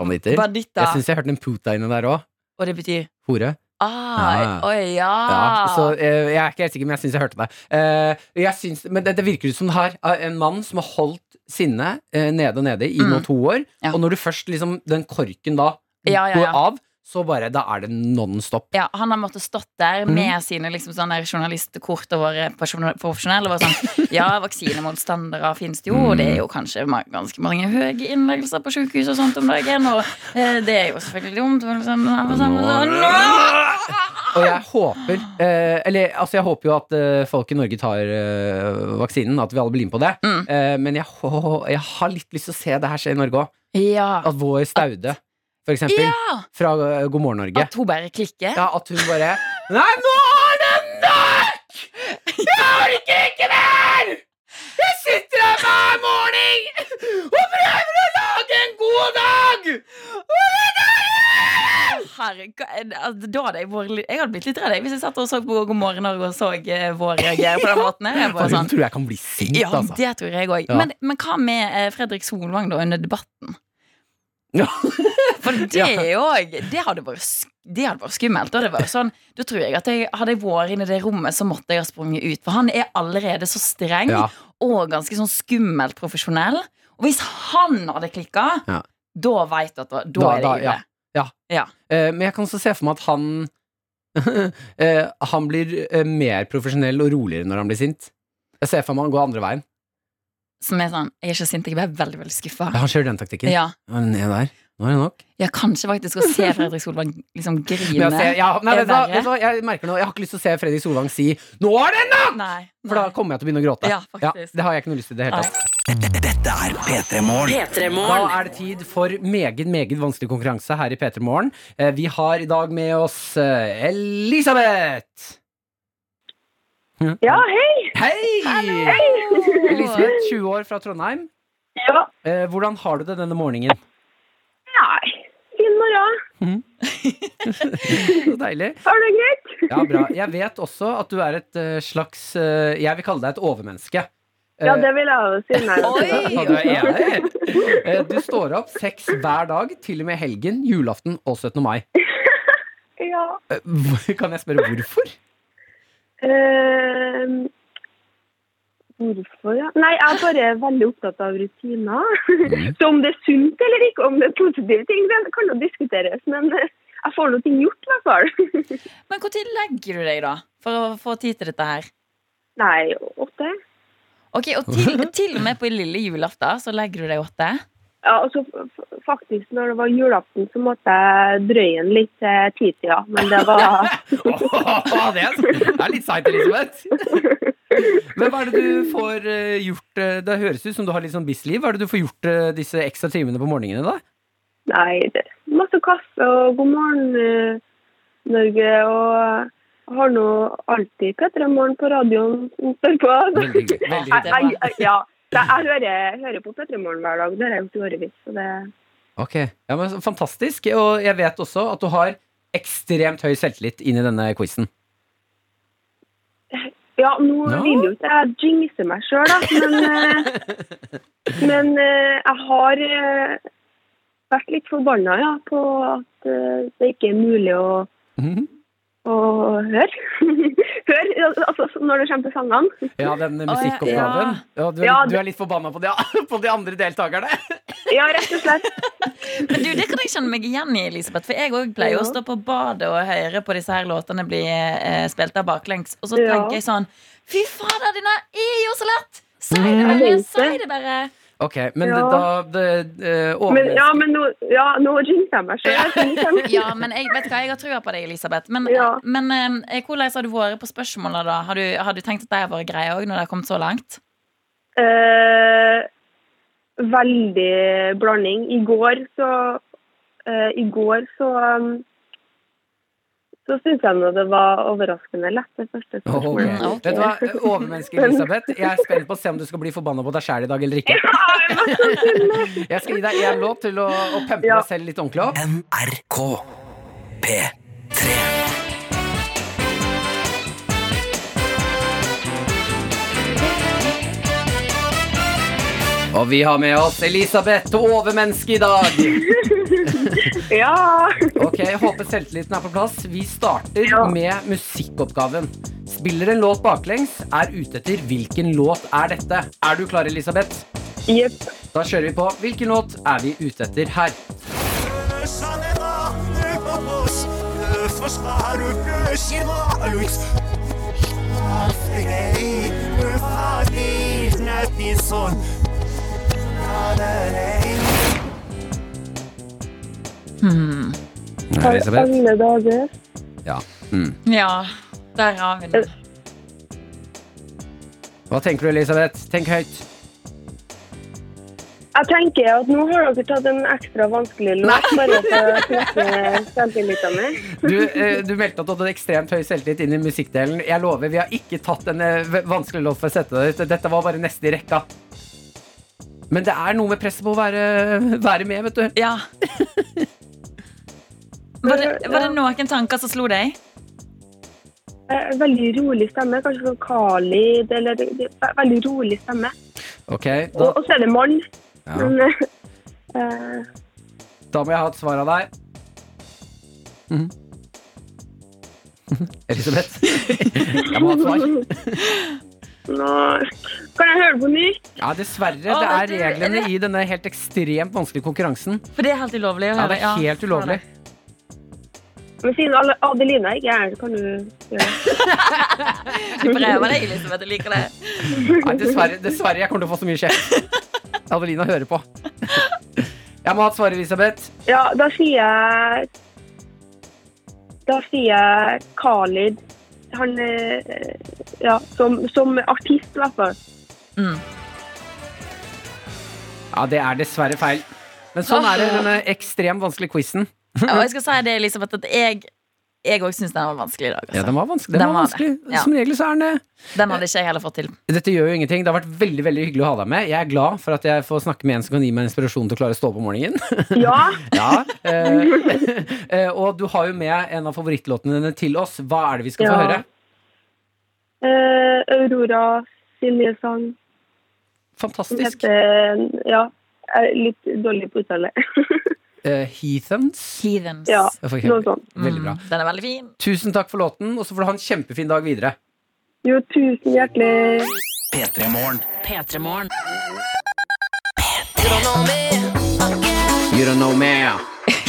Banditter.
bandita.
Jeg syns jeg hørte en puta inni der òg.
Og det betyr
Hore.
Ah,
Ja.
oi, ja.
Ja,
Ah.
så eh, jeg er ikke helt sikker, men jeg syns jeg hørte deg. Eh, jeg syns, men det, det virker ut som det her er en mann som har holdt sinnet eh, nede og nede i nå to år.
Mm. Ja.
Og når du først liksom den korken da
Ja, ja, ja.
går av, så bare da er det non stop.
ja, han har måttet stått der
Mhm.
med sine liksom, sånne der journalistkort og vært profesjonell- profesjonell. Og vært sånn, ja, vaksinemotstandere finnes det jo, og det er
Mhm.
jo kanskje ma- ganske mange høye innleggelser på sykehus og sånt om dagen. Og eh, det er jo selvfølgelig dumt. men Sånn, sånn, sånn, sånn,
Og
Ah.
jeg håper eh, Eller altså, jeg håper jo at eh, folk i Norge tar eh, vaksinen, at vi alle blir med på det.
Mm.
Eh, men jeg, hå- jeg har litt lyst til å se det her skje i Norge òg.
Ja.
At vår Staude, for eksempel,
ja!
fra eh, God morgen Norge
At hun bare klikker.
Ja, at hun bare Nei, nå er det nok! Jeg orker ikke mer! Jeg sitter her hver morgen og prøver å lage en god dag!
Herregud, altså, da hadde jeg, vært, litt- jeg hadde blitt litt redd jeg, hvis jeg satt og så på God morgen Norge og så eh, vår reagere på den måten. her. Jeg bare
Hun
sånn,
tror jeg kan bli sint,
ja,
altså.
det tror jeg òg.
Ja.
Men, men hva med eh, Fredrik Solvang da under debatten?
Ja.
For det
Ja.
er jo òg Det hadde vært sk- det hadde vært skummelt. Og det var jo sånn, da tror jeg at jeg, Hadde jeg vært inne i det rommet, så måtte jeg ha sprunget ut. For han er allerede så streng
Ja.
og ganske sånn skummelt profesjonell. Og hvis han hadde klikka,
Ja.
da veit du at da, da,
Da-
er det
da-
ille.
Eh, men jeg kan også se for meg at han eh, Han blir eh, mer profesjonell og roligere når han blir sint. Jeg ser for meg han går andre veien.
Som er sånn Jeg er ikke sint, jeg ble veldig, veldig skuffa.
Ja, han kjører den taktikken.
Ja.
Ja, men ned der. Nå er det nok.
ja, kanskje faktisk å se Fredrik Solvang liksom
Men
grine.
jeg, ser, ja, nei,
er
vet du, hva-
verre.
vet du hva, jeg merker nå Jeg har ikke lyst til å se Fredrik Solvang si 'Nå er det nok!'
Nei,
For da
nei.
kommer jeg til å begynne å gråte.
Ja, faktisk.
det har jeg ikke noe lyst til i det hele tatt.
Dette er P3 Morgen.
P3
Da
Morgen.
er det tid for meget, meget vanskelig konkurranse her i P3 Morgen. Eh, Vi har i dag med oss eh, Elisabeth. Hm?
Ja, hei!
Hei! Elisabeth, 20 år fra Trondheim.
Ja,
Eh, Hvordan har du det denne morgenen?
nei.
Mhm. Så deilig.
Har du det greit?
Ja, bra. Jeg vet også at du er et eh, slags eh, Jeg vil kalle deg et overmenneske.
Ja,
Eh,
det vil jeg også si. Nei,
Oi!
ja, du, er enig. Eh, du står opp seks hver dag, til og med helgen, julaften og 17. mai.
Ja.
Eh, hvor- Kan jeg spørre hvorfor?
Eh, hvorfor, ja? Nei, jeg er bare veldig opptatt av rutiner. Så om det er sunt eller ikke, om det er positive ting, det kan jo diskuteres. Men eh, jeg får noe ting gjort, i hvert fall.
Men når legger du deg, da? For å få tid til dette her.
Nei, åtte.
Ok, Og til, til og med på lille julaften så legger du deg åtte.
Ja, altså, f- f- faktisk, når det var julaften, så måtte jeg drøye den litt til titida. Men det var
Åh, det, er, det er litt seigt, Elisabeth. Men hva er det du får eh, gjort eh, Det høres ut som du har litt sånn bussliv. Hva er det du får gjort eh, disse ekstra timene på morgenene, da?
Nei, det masse kaffe og god morgen, eh, Norge. Og jeg har nå alltid P3 Morgen på radioen som står på.
Veldig hyggelig. Veldig hyggelig.
Jeg, jeg, jeg, ja, så jeg hører, hører på P3 Morgen hver dag. Det har jeg gjort i årevis. Så det
Ok, ja, men så Fantastisk. Og jeg vet også at du har ekstremt høy selvtillit inn i denne quizen.
Ja, nå
Ja.
vil jo ikke jeg jinxe meg sjøl, da. Men, eh, men eh, jeg har eh, vært litt forbanna ja, på at eh, det ikke er mulig å,
Mhm.
å høre. Hør, altså når det kommer til sangene.
Ja, den eh,
Å, ja,
musikkoppgaven. Ja, du, er-
Ja,
du er litt forbanna på de, på de andre deltakerne.
Ja, rett og slett.
Men du, Det kan jeg kjenne meg igjen i, Elisabeth. For jeg òg pleier å
Ja.
stå på badet og høre på disse her låtene bli eh, spilt av baklengs. Og så
Ja.
tenker jeg sånn Fy fader, denne er jo så lett! Si det bare! Si det bare!
Ok, men
Ja.
da det, eh,
Men,
overmenneske-
ja, men nå, ja, nå jinxer jeg meg sjøl.
Ja, men jeg vet hva, jeg har trua på deg, Elisabeth. Men,
Ja.
men eh, hvordan har du vært på spørsmåla, da? Har du, har du tenkt at det har vært greia òg, når det har kommet så langt?
Eh, veldig blanding. I går så eh, I går så um, så syns jeg nå det var overraskende lett, det første
Åh, ok.
spørsmålet.
ok.
Vet du hva, overmenneske Elisabeth, jeg er spent på å se om du skal bli forbanna på deg sjæl i dag eller ikke. Jeg skal gi deg én låt til å, å pempe
Ja.
deg selv litt ordentlig opp.
NRK P3.
Og vi har med oss Elisabeth, overmenneske i dag.
Ja!
Ok, jeg Håper selvtilliten er på plass. Vi starter
Ja.
med musikkoppgaven. Spiller en låt baklengs, er ute etter hvilken låt er dette. Er du klar, Elisabeth?
Jepp.
Da kjører vi på. Hvilken låt er vi ute etter her?
For alle dager.
Ja, der har vi
Eh.
den.
Hva tenker du, Elisabeth? Tenk høyt.
Jeg tenker at nå har dere tatt en ekstra vanskelig låt bare for å knekke selvtilliten min.
Du, eh, du meldte at du hadde ekstremt høy selvtillit inn i musikkdelen. Jeg lover, vi har ikke tatt en eh, v- vanskelig låt for å sette deg ut. Dette var bare neste i rekka. Men det er noe med presset på å være, være med, vet du.
Ja. Var det, var det noen tanker som slo deg?
Eh, Veldig rolig stemme. Kanskje sånn Khalid eller det er Veldig rolig stemme.
Ok,
Og
Da,
og så er det mann.
Ja.
Men eh, eh,
da må jeg ha et svar av deg. Mhm. Elisabeth, jeg må ha et svar.
Nå kan jeg høre på nytt.
Ja, dessverre.
Å,
Det er
du-
reglene i denne helt ekstremt vanskelige konkurransen.
For det er helt ulovlig å
Ja,
høre.
det er helt ulovlig.
Men siden Ad- Adelina ikke er her, så kan du gjøre det.
Du prøver deg, Elisabeth. Jeg liker det.
Nei, dessverre, dessverre. Jeg kommer til å få så mye kjeft. Adelina hører på. Jeg må ha et svar, Elisabeth.
Ja, da sier jeg Da sier jeg Khalid. Han eh, Ja, som, som artist, i hvert fall.
Ja, det er dessverre feil. Men sånn er det i denne ekstremt vanskelige quizen.
Og jeg skal si det, Elisabeth, at jeg jeg òg syns den var vanskelig i dag. Altså.
Ja, den var vanskelig. Den
Den
var
var det.
vanskelig.
Ja.
Som regel så er den det.
Den hadde ikke jeg heller fått til.
Dette gjør jo ingenting. Det har vært veldig veldig hyggelig å ha deg med. Jeg er glad for at jeg får snakke med en som kan gi meg inspirasjon til å klare å stå opp om morgenen.
Ja,
Ja, eh, eh, Og du har jo med en av favorittlåtene dine til oss. Hva er det vi skal få
Ja.
høre?
eh, Aurora sin nye sang som
Fantastisk.
heter Ja, jeg er litt dårlig på uttale.
Eh, Heathens.
Heathens.
Ja,
Jeg får ikke-
noe sånt.
Veldig bra.
Mm, den er veldig fin.
Tusen takk for låten, og så får du ha en kjempefin dag videre.
Jo, tusen hjertelig
P3 Morgen.
P3morgen.
You don't know me.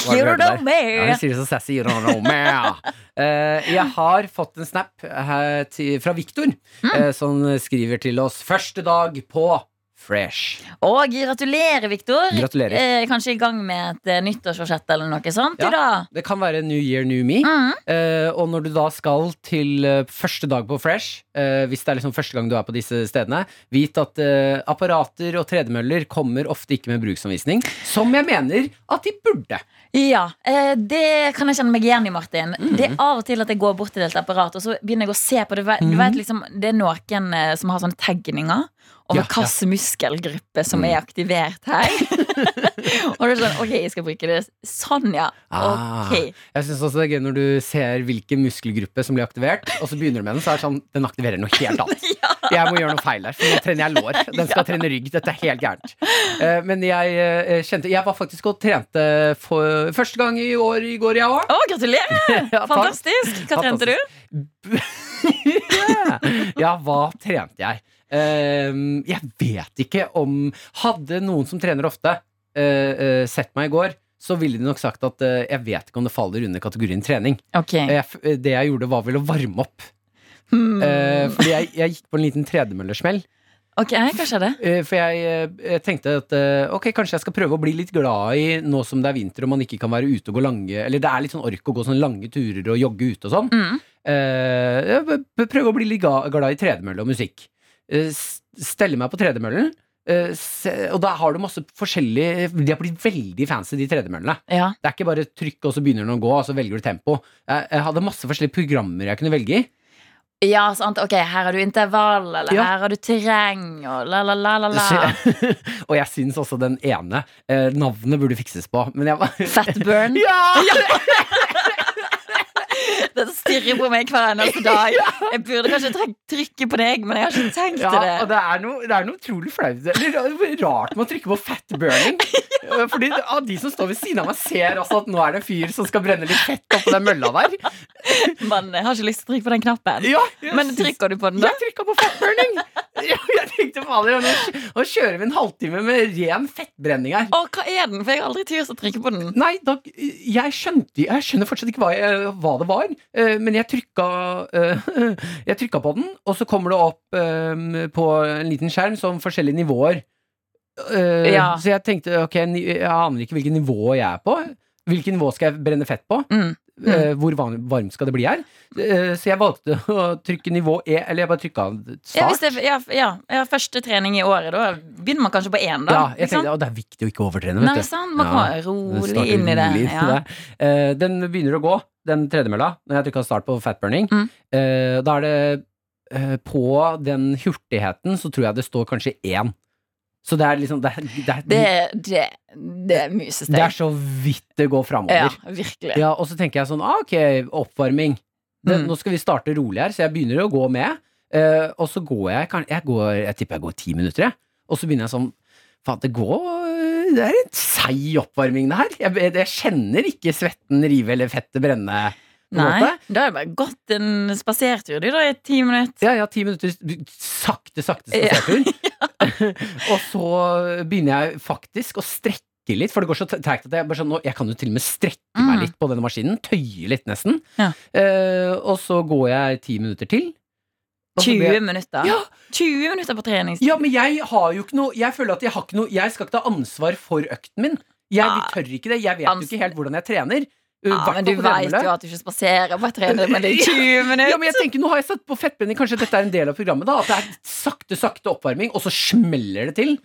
Hva er det
You
du hørte
don't know
der?
me.
Ja, hun sier det så sassy. You don't know me. Eh, jeg har fått en snap her til, fra Viktor,
Mm.
eh, som skriver til oss 'Første dag på Fresh'.
Og gratulerer, Viktor.
Gratulerer.
Eh, kanskje i gang med et eh, nyttårsforsett eller noe sånt
Ja.
i dag.
Det kan være New Year, New Me.
Mm.
Eh, og når du da skal til eh, første dag på Fresh, eh, hvis det er liksom første gang du er på disse stedene, vit at eh, apparater og tredemøller kommer ofte ikke med bruksanvisning, som jeg mener at de burde.
Ja, eh, det kan jeg kjenne meg igjen i, Martin.
Mm.
Det er av og til at jeg går bort til et apparat, og så begynner jeg å se på det. Du vet-
Mm.
Du vet, liksom, det er noen eh, som har sånne tegninger over
Ja, Mm.
hvilken muskelgruppe som er aktivert her. og det er sånn Ok, jeg skal bruke det. Sånn, ja.
Ah.
Ok.
Jeg synes også det er gøy når du ser hvilken muskelgruppe som blir aktivert, og så begynner du med den, så er det sånn Den aktiverer noe helt annet. Jeg må gjøre noe feil her, for nå trener jeg lår. Den skal trene rygg. Dette er helt gærent. Eh, men jeg eh, kjente Jeg var faktisk og trente for første gang i år i går, jeg òg.
Å, gratulerer!
Ja, takk.
Fantastisk. Hva trente du?
ja, hva trente jeg? Ehm, jeg vet ikke om Hadde noen som trener ofte, eh, eh, sett meg i går, så ville de nok sagt at eh, jeg vet ikke om det faller under kategorien trening.
Ok.
Jeg, f- det jeg gjorde, var vel å varme opp.
Hmm.
Eh, fordi jeg, jeg gikk på en liten tredemøllesmell.
Ok, Hva skjedde?
Eh, for jeg, eh, jeg tenkte at eh, ok, kanskje jeg skal prøve å bli litt glad i nå som det er vinter og man ikke kan være ute og gå lange Eller det er litt sånn ork å gå sånne lange turer og jogge ute og sånn.
Mm.
Eh, jeg b- prøve å bli litt ga- glad i tredemølle og musikk. Eh, s- Stelle meg på tredemøllen, eh, se- og da har du masse forskjellige De har blitt veldig fancy, de tredemøllene.
Ja.
Det er ikke bare trykk, og så begynner den å gå, og så velger du tempo. Jeg, jeg hadde masse forskjellige programmer jeg kunne velge i.
ja, sant. Ok, her har du intervall, eller
Ja.
her har du terreng, og la, la, la, la, la.
Så, og jeg syns også den ene eh, Navnet burde fikses på, men jeg var
Fatburn.
Ja!
Den stirrer på meg hver eneste dag. Jeg burde kanskje tryk- trykke på deg, men jeg har ikke tenkt til
og
det.
det er noe, det er noe utrolig flaut Eller ra- rart med å trykke på fatburning. Eh, Fordi det- ah, de som står ved siden av meg, ser også at nå er det en fyr som skal brenne litt fett oppå den mølla der.
Men jeg har ikke lyst til å trykke på den knappen.
Ja, jeg
Men
syns-
trykker du på den, da?
Jeg trykka på fatburning! Ja, Jeg tenkte fader, nå, kj- nå kjører vi en halvtime med ren fettbrenning her.
Å, hva er den? For jeg har aldri turt å trykke på den.
Nei, da, jeg skjønte Jeg skjønner fortsatt ikke hva, jeg, hva det var, eh, men jeg trykka, eh, jeg trykka på den, og så kommer det opp eh, på en liten skjerm som forskjellige nivåer. Eh,
Ja.
Så jeg tenkte ok, ni- jeg aner ikke hvilket nivå jeg er på. Hvilket nivå skal jeg brenne fett på?
Mm.
Eh, hvor varm, varm skal det bli her? Eh, så jeg valgte å trykke nivå E, eller jeg bare trykka
Ja, hvis
start.
det, ja, f- ja, jeg har første trening i året. Da begynner man kanskje på én, da.
Ja, jeg
ikke sant?
tenkte, å, det er viktig å ikke overtrene, vet
Nei,
du.
sant? Man
Ja,
kommer
Det
rolig
starter
inn i det.
rolig
Ja.
der. Eh, den begynner å gå, den tredemølla, når jeg trykka start på fatburning.
Mm.
Eh, da er det eh, På den hurtigheten så tror jeg det står kanskje én. Så det er liksom Det, er- det, er-
Det, det, det er
det er
musesteg.
så vidt det går
Ja,
framover.
virkelig.
Ja, og så tenker jeg sånn, ah, ok, oppvarming. Det,
Mm.
Nå skal vi starte rolig her, så jeg begynner å gå med. Eh, og så går jeg, kan- jeg, går, jeg tipper jeg går ti minutter, jeg. Og så begynner jeg sånn, faen, det går, det er en seig oppvarming det her. Jeg, jeg kjenner ikke svetten rive eller fettet brenne. på en
Nei,
måte.
da har jeg bare gått en spasertur, du, da, i ti minutter.
Ja, ja, ti minutter sakte, sakte spasertur. og så begynner jeg faktisk å strekke litt, for det går så treigt at jeg bare sånn nå, Jeg kan jo til og med strekke
Mm.
meg litt på denne maskinen. Tøye litt, nesten.
Ja.
Eh, og så går jeg ti minutter til. og så blir
20
jeg-
minutter.
altså, Ja.
20 minutter på treningstur.
Ja, men jeg har jo ikke noe Jeg føler at jeg har ikke noe Jeg skal ikke ta ansvar for økten min. Jeg
Ah.
tør ikke det. Jeg vet
Ans-
jo ikke helt hvordan jeg trener. Uh,
Ja,
hvertfall
men du
på
vet
tredemølle.
jo at du ikke spaserer på et trening, men det er 20 minutter.
Ja, men jeg tenker, Nå har jeg satt på fettbrenning, kanskje dette er en del av programmet? da At det er sakte, sakte oppvarming, og så smeller det til.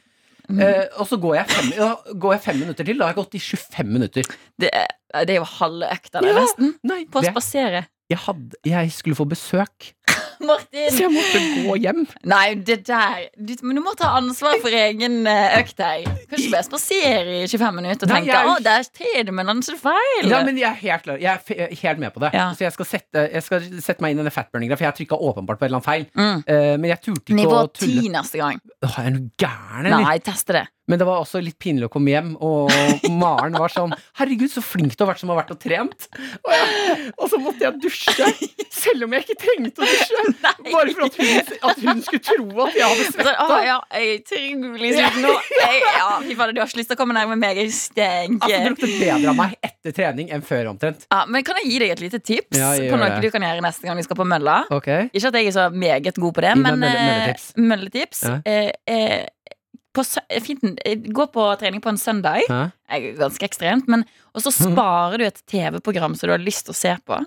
Mm.
Eh, og så går jeg, fem, ja, går jeg fem minutter til. Da har jeg gått i 25 minutter.
Det er, det er jo halve økta, det,
Ja.
nesten.
Nei,
På å
det,
spasere.
jeg, hadde, jeg skulle få besøk,
Martin!
så jeg måtte gå hjem.
Nei, det der du, Men du må ta ansvar for egen eh, økt her. Kan ikke bare spasere i 25 minutter og
Nei,
tenke
jeg-
å, der er det, men han er så feil.
Ja, men jeg er helt, klar. Jeg er fe- jeg er helt med på det.
Ja.
Så jeg skal, sette, jeg skal sette meg inn i den fatburninga, for jeg trykka åpenbart på en eller annen feil.
mm.
Eh, men jeg turte ikke
Nivå
å
10
tulle.
neste gang.
Åh, er du gæren, eller?
Nei, teste det.
Men det var også litt pinlig å komme hjem, og Maren var sånn Herregud, så flink du har vært som har vært og trent. Og, jeg, og så måtte jeg dusje, selv om jeg ikke trengte å dusje. Bare for at hun, at hun skulle tro at jeg hadde
Men Sånn,
svetta.
å, ja, jeg er utrolig sulten nå. Jeg, ja, fy fader, du har ikke lyst til å komme nærme meg. Jeg
Altså, det
stinker.
lukter bedre av meg etter trening enn før, omtrent.
Ja, men kan jeg gi deg et lite tips
Ja, gjør
på noe
det.
du kan gjøre neste gang vi skal på mølla?
Ok
Ikke at jeg er så meget god på det,
Gi meg
men
mølle-
eh,
mølletips.
mølletips.
Ja.
Eh, eh, på sø- fint, eh, gå på trening på en søndag.
Hæ?
Jeg er ganske ekstremt, men Og så sparer du et TV-program som du har lyst til å se på.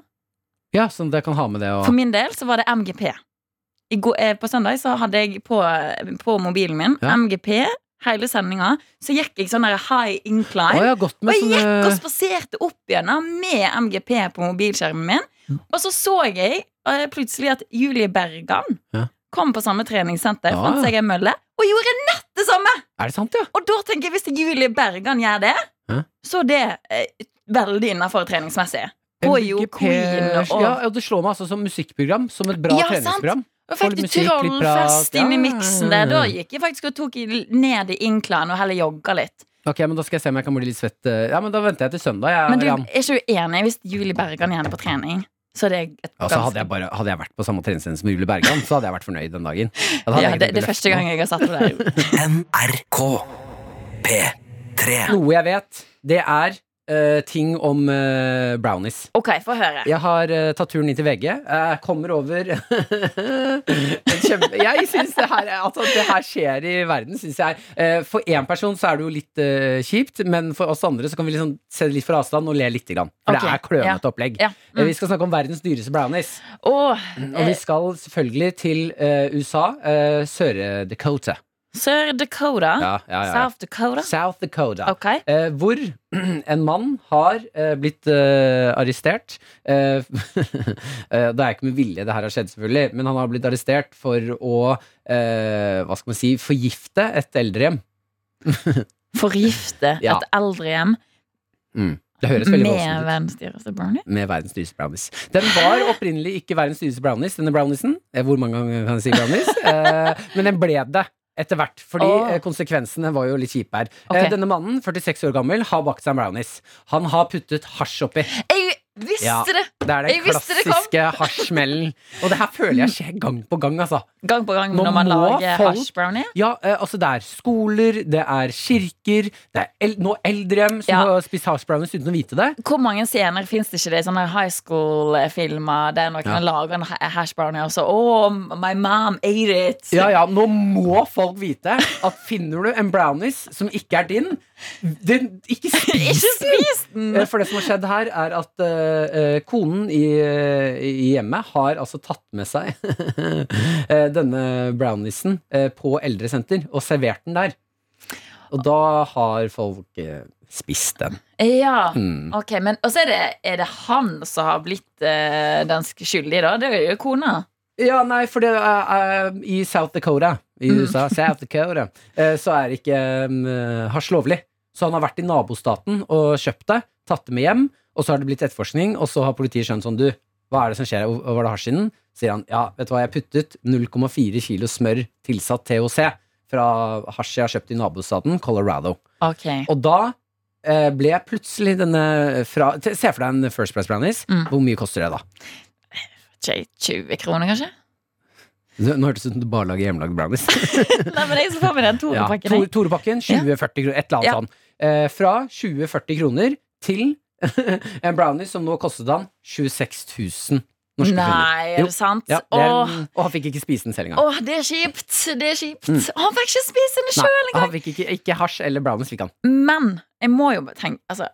Ja, sånn at jeg kan ha med det og
For min del så var det MGP. I går, eh, på søndag så hadde jeg på, på mobilen min
Ja.
MGP hele sendinga. Så gikk jeg sånn der high
Å,
incline.
jeg har gått
Og
med
jeg gikk og
sånn
spaserte opp igjen da, med MGP på mobilskjermen min.
Mm.
Og så så jeg eh, plutselig at Julie Bergan
Ja.
kom på samme treningssenter,
Ja.
fant seg ei mølle, og gjorde nett det samme!
Er det sant, ja?
Og da tenker jeg hvis Julie Bergan gjør det,
Hæ?
så er det eh, veldig innafor treningsmessig. Hun er jo
MGP
queen og
Ja, og det slår meg altså som musikkprogram. Som et bra
Ja, sant.
treningsprogram.
Da fikk
Får
du
litt musikk, litt
trollfest
prat.
inn i
Ja.
miksen der. Da gikk jeg faktisk og tok i- ned i inklaren og heller jogga litt.
Ok, men Da skal jeg se om jeg kan bli litt svett. eh, Ja, men Da venter jeg til søndag. Jeg,
Men du,
Ram.
er ikke du enig hvis Julie Bergan gjerne på trening? Så det er et
Ja, så Altså, hadde
ganske-
jeg, bare, hadde jeg vært på samme treningssted som Julie Bergan, så hadde jeg vært fornøyd den dagen. Ja, da hadde
ja,
jeg
det,
ikke
det er
blitt
første gang jeg har satt det der.
NRK P3
løftet. Noe jeg vet, det er eh, ting om eh, brownies.
Ok, få høre.
Jeg har eh, tatt turen inn til VG. Jeg kommer over en kjempe... Jeg syns det her Altså, det her skjer i verden, syns jeg. Eh, for én person så er det jo litt eh, kjipt, men for oss andre så kan vi liksom se det litt fra avstand og le lite grann. For
Ok,
det er klønete opplegg.
Ja. mm.
Eh, Vi skal snakke om verdens dyreste brownies.
Og
Og vi skal selvfølgelig til eh, USA. eh, Sør-Dakota.
Sør Dakota.
Ja, ja, ja.
South Dakota.
South Dakota.
Ok.
Eh, hvor en mann har eh, blitt eh, arrestert. Eh, eh, det er ikke med vilje det her har skjedd, selvfølgelig, men han har blitt arrestert for å eh, hva skal man si, forgifte et eldrehjem.
Forgifte
Ja.
et eldrehjem
Det høres veldig
med
voldsomt ut.
verdens dyreste brownie.
Med verdens dyreste brownies. Den var opprinnelig ikke verdens dyreste brownies, denne brownisen. Eh, Hvor mange ganger kan jeg si brownies? Eh, men den ble det. Etter hvert, fordi
Åh.
eh, konsekvensene var jo litt kjipe her.
Ok.
Eh, Denne mannen, 46 år gammel, har bakt seg en brownies. Han har puttet hasj oppi.
Jeg visste
Ja.
det!
Det er den
Jeg visste det kom.
klassiske hasjsmellen. Og det her føler jeg skjer gang på gang, altså.
Gang på gang
Nå
når man
må
lager
folk-
hash brownie.
Ja, eh, altså det er skoler, det er kirker, det er el nå eldrehjem som
Ja.
har spist hasjbrownies uten å vite det.
Hvor mange scener fins det ikke det i sånne high school-filmer der noen
Ja.
lager en ha- hash brownie og så Oh, my mom ate it!
Ja, ja, nå må folk vite at finner du en brownies som ikke er din, den, ikke spis
Ikke spis den!
Eh, For det som har skjedd her, er at eh, eh, konen i, eh, i hjemmet har altså tatt med seg eh, denne browniesen eh, på eldresenter og servert den der. Og da har folk eh, spist den.
Ja,
Mm.
ok, men Og så er det, er det han som har blitt eh, den skyldige, da? Det er jo kona.
Ja, nei, for det er eh, i South Dakota i USA, South Dakota, eh, så er ikke um, hasj lovlig. Så han har vært i nabostaten og kjøpt det, tatt det med hjem, og så har det blitt etterforskning, og så har politiet skjønt sånn, du, hva er det som skjer, her? var det hasj i den? Sier han, ja, vet du hva, jeg puttet 0,4 kilo smør tilsatt THC fra hasj jeg har kjøpt i nabostaten, Colorado.
Ok,
Og da eh, ble jeg plutselig denne fra, se for deg en First Price Brownies,
Mm.
hvor mye koster det da?
Tjei, 20 kroner, kanskje?
Nå nå hørtes det ut som du bare lager hjemmelagd brownies.
Nei, men jeg så får meg den Tore-pakken.
Tore,
jeg.
Torepakken, 20-40 kroner, et eller annet
Ja.
sånn. Eh, fra 20-40 kroner til en brownie som nå kostet han 26 000 norske kroner.
Nei, er
Jo.
det sant?
Ja, det er,
Åh,
og han fikk ikke spise den selv engang.
åh, det er kjipt! Det er kjipt. Han fikk ikke spise den sjøl
Mm. Nei, han fikk ikke, ikke hasj eller brownies fikk han.
Men jeg må jo bare tenke altså,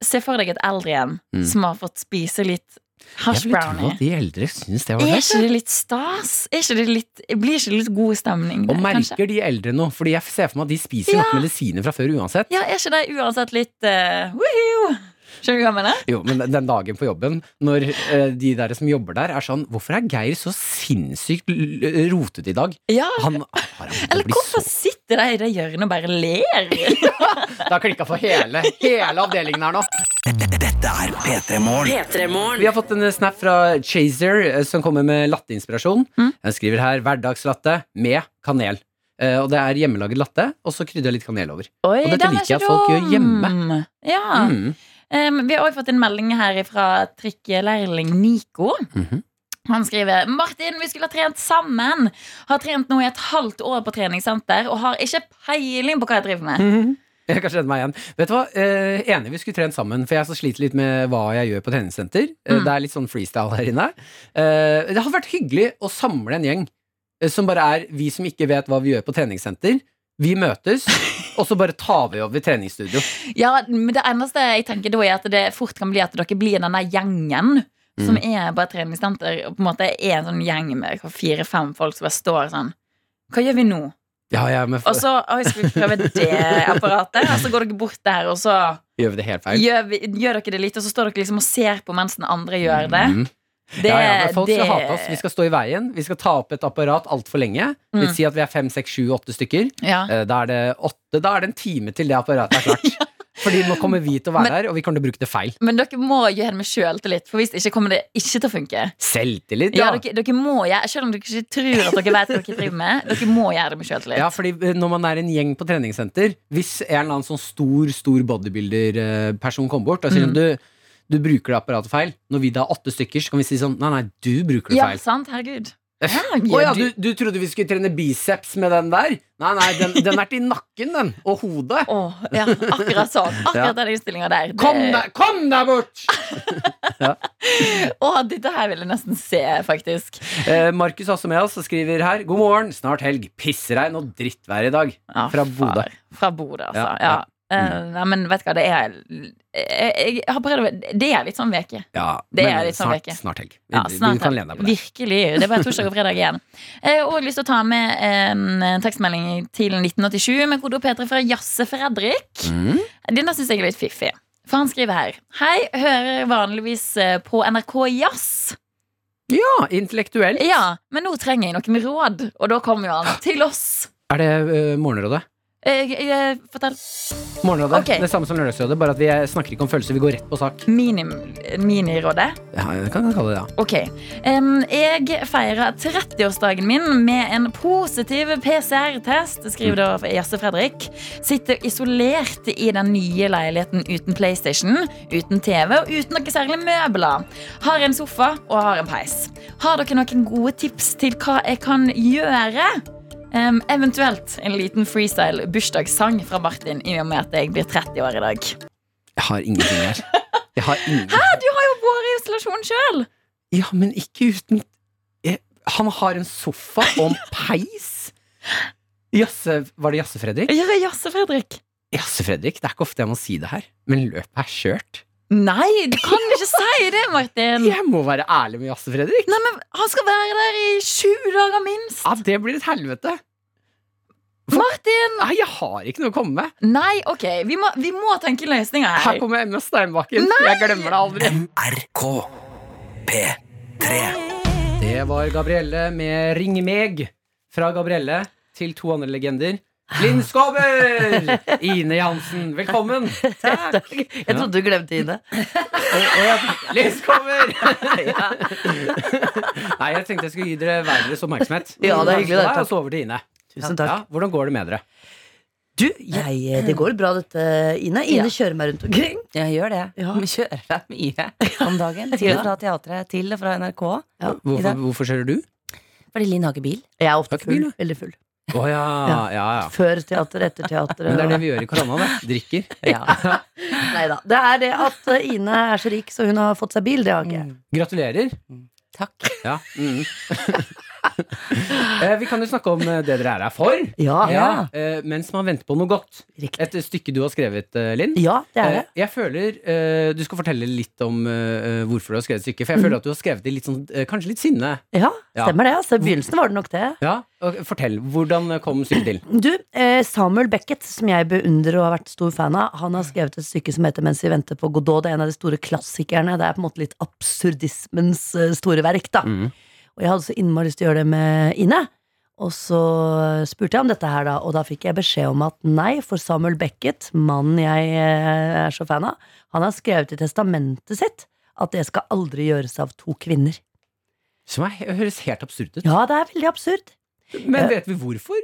Se for deg et eldrehjem
Mm.
som har fått spise litt Hash
Jeg ville tro
brownie.
at de eldre syns det var
Er
fett.
ikke det litt stas? Er ikke det litt, blir ikke det litt god stemning?
Og
der, kanskje?
merker de eldre nå, fordi jeg ser for meg at de spiser
Ja.
nok medisiner fra før uansett.
Ja, er ikke det uansett litt eh, woohoo? Skjønner du hva jeg mener?
Jo, men den dagen på jobben, når eh, de der som jobber der, er sånn Hvorfor er Geir så sinnssykt l- l- rotete i dag?
Ja.
Han har han
Eller
blir
hvorfor
så
sitter de i det hjørnet og bare ler?
Det har klikka for hele, hele avdelingen her nå.
Dette er P3 Morgen.
Vi har fått en eh, snap fra Chaser eh, som kommer med latteinspirasjon.
Mm.
Han skriver her 'hverdagslatte med kanel'. Eh, Og det er hjemmelaget latte, og så krydrer jeg litt kanel over.
Oi,
Og dette
den er
liker jeg
ikke
at folk gjør
dum.
hjemme.
Ja.
Mm.
Em, vi har også fått en melding her fra trikkelærling Nico.
Mhm.
Han skriver Martin, vi skulle ha trent sammen. Har trent nå i et halvt år på treningssenter og har ikke peiling på hva jeg driver
Mhm.
med.
Jeg kan kjenne meg igjen. Vet du hva? Eh, enig, vi skulle trent sammen, for jeg så sliter litt med hva jeg gjør på treningssenter. Eh,
Mm.
Det er litt sånn freestyle her inne. Eh, det hadde vært hyggelig å samle en gjeng eh, som bare er vi som ikke vet hva vi gjør på treningssenter. Vi møtes, og så bare tar vi over treningsstudio.
Ja, men Det eneste jeg tenker da er at det fort kan bli at dere blir denne gjengen. Som er bare treningssenter og på en måte er en sånn gjeng med fire-fem folk som bare står sånn. Hva gjør vi nå?
Ja, ja, men
Og så oi, skal vi prøve det apparatet, og så går dere bort der, og så
gjør vi det helt feil?
gjør, vi, gjør dere det litt, og så står dere liksom og ser på mens den andre gjør det.
Mm.
det
ja, ja, men folk
det-
skal hate oss. Vi skal stå i veien. Vi skal ta opp et apparat altfor lenge.
Mm.
Vi sier at vi er fem, seks, sju, åtte stykker.
Ja.
Eh, Da er det åtte. Da er det en time til det apparatet er klart. Fordi nå kommer vi til å være
Men-
her, og vi kommer til å bruke det feil.
Men dere må gjøre det med sjøltillit, for hvis ikke kommer det ikke til å funke.
Selvtillit,
Ja,
ja.
dere, dere må gjøre, Selv om dere ikke tror at dere vet hva dere driver med, dere må gjøre det med sjøltillit.
Ja, fordi eh, når man er en gjeng på treningssenter Hvis en eller annen sånn stor, stor bodybuilder-person kommer bort og sier
Mm.
du, du bruker det apparatet feil Når vi da er åtte stykker, så kan vi si sånn Nei, nei, du bruker det
Ja,
feil
sant, herregud ja,
Å ja, du,
du,
du trodde vi skulle trene biceps med den der? Nei, nei, den, den er til nakken, den. Og hodet.
Å, ja, akkurat sånn
Ja.
Akkurat den innstillinga der det-
Kom deg, kom deg bort!
Å, dette her vil jeg nesten se, faktisk
Eh, Markus er også med oss og skriver her. God morgen, snart helg. Pissregn og drittvær i dag.
Ja,
Fra Bodø.
far. Fra Bodø, altså
Ja,
ja,
ja. Mm.
Eh, nei, men vet du hva, det er jeg, jeg har prøvd å Det er litt sånn veke
Ja,
Det
men
er litt sånn
snart,
vekke.
snart helg.
ja,
Du-
snart
du kan
her.
lene deg på det.
Virkelig, det er bare torsdag og fredag igjen Jeg har også lyst til å ta med en eh, tekstmelding til 1987 Med kode P3 fra Jasse Fredrik
Mm.
Denne syns jeg er litt fiffig. For han skriver her. Hei, hører vanligvis eh, på NRK Jazz.
Ja, intellektuell.
Ja, men nå trenger jeg noe med råd. Og da kommer jo han til oss.
Er det eh, Morgenrådet?
Eh, eh, fortell.
Morgenrådet.
Ok.
Det samme som Lørdagsrådet, bare at vi eh, snakker ikke om følelser. Vi går rett på sak.
Minim- Minirådet.
Ja, jeg kan kalle det det.
Ok. Em, jeg feirer 30-årsdagen min med en positiv PCR-test, skriver da Jasse Fredrik. Sitter isolert i den nye leiligheten uten PlayStation, uten TV og uten noe særlig møbler. Har en sofa og har en peis. Har dere noen gode tips til hva jeg kan gjøre? Em, eventuelt en liten freestyle bursdagssang fra Martin, i og med at jeg blir 30 år i dag.
Jeg har ingenting her. Jeg har ingen...
Du har jo vært i isolasjon sjøl!
Ja, men ikke uten jeg... Han har en sofa og en peis. Jasse... Var det Jasse-Fredrik?
Jasse Fredrik.
Jasse-Fredrik, det er ikke ofte jeg må si det her, men løpet er kjørt.
Nei, du kan ikke si det, Martin!
Jeg må være ærlig med Jasse-Fredrik.
Nei, men Han skal være der i 20 dager minst!
Ja, det blir et helvete.
Martin!
Nei, jeg har ikke noe å komme med.
Nei, ok, vi må, vi må tenke løsninger her.
Her kommer Emma Steinbakken. Jeg glemmer det aldri.
NRK P3.
Det var Gabrielle med Ring meg. Fra Gabrielle til to andre legender. Linn Skåber! Ine Jansen, velkommen. Takk.
Jeg trodde du glemte Ine.
Linn Skåber! Nei, jeg tenkte jeg skulle gi dere hver deres oppmerksomhet.
Ja, det er hyggelig, det.
Deg, Og så over til Ine.
Tusen
Ja,
takk.
hvordan går det med dere?
Du, jeg, det går bra dette, Ine.
Ja.
Ine kjører meg rundt omkring.
Jeg gjør det.
Ja.
Vi kjører deg mye om dagen. Til og fra teatret, til og fra NRK. I
Hvorfor,
dag.
hvorfor kjører du?
Fordi Linn har ikke bil.
Jeg er ofte
Takk,
full.
Ine.
Veldig full.
Å ja, ja, ja.
Før teater, etter teater.
Men det er det vi gjør i korona, det. Drikker.
Neida. Det er det at eh, Ine er
Mm.
så rik, så hun har fått seg bil. Det har ikke jeg.
Gratulerer.
Takk.
Ja. Mm. Eh, vi kan jo snakke om eh, det dere er her for.
Ja, ja.
Eh, mens man venter på noe godt.
Riktig.
Et stykke du har skrevet, eh, Linn.
Ja, det er det.
Eh, Jeg føler eh, Du skal fortelle litt om eh, hvorfor du har skrevet stykket. For jeg føler at du har skrevet det litt sånn eh, Kanskje litt sinne.
Mm. Ja,
Ja.
stemmer det. Altså, I begynnelsen var det nok det.
Ja, ok, Fortell. Hvordan kom stykket til?
Du, eh, Samuel Beckett, som jeg beundrer og har vært stor fan av, han har skrevet et stykke som heter 'Mens vi venter på Godot'. Det er en av de store klassikerne. Det er på en måte litt absurdismens eh, store verk, da.
Mhm.
Og jeg hadde så innmari lyst til å gjøre det med Ine. Og så spurte jeg om dette her, da, og da fikk jeg beskjed om at nei, for Samuel Beckett, mannen jeg eh, er så fan av, han har skrevet i testamentet sitt at det skal aldri gjøres av to kvinner.
Som er, høres helt absurd ut.
Ja, det er veldig absurd.
Men vet vi hvorfor?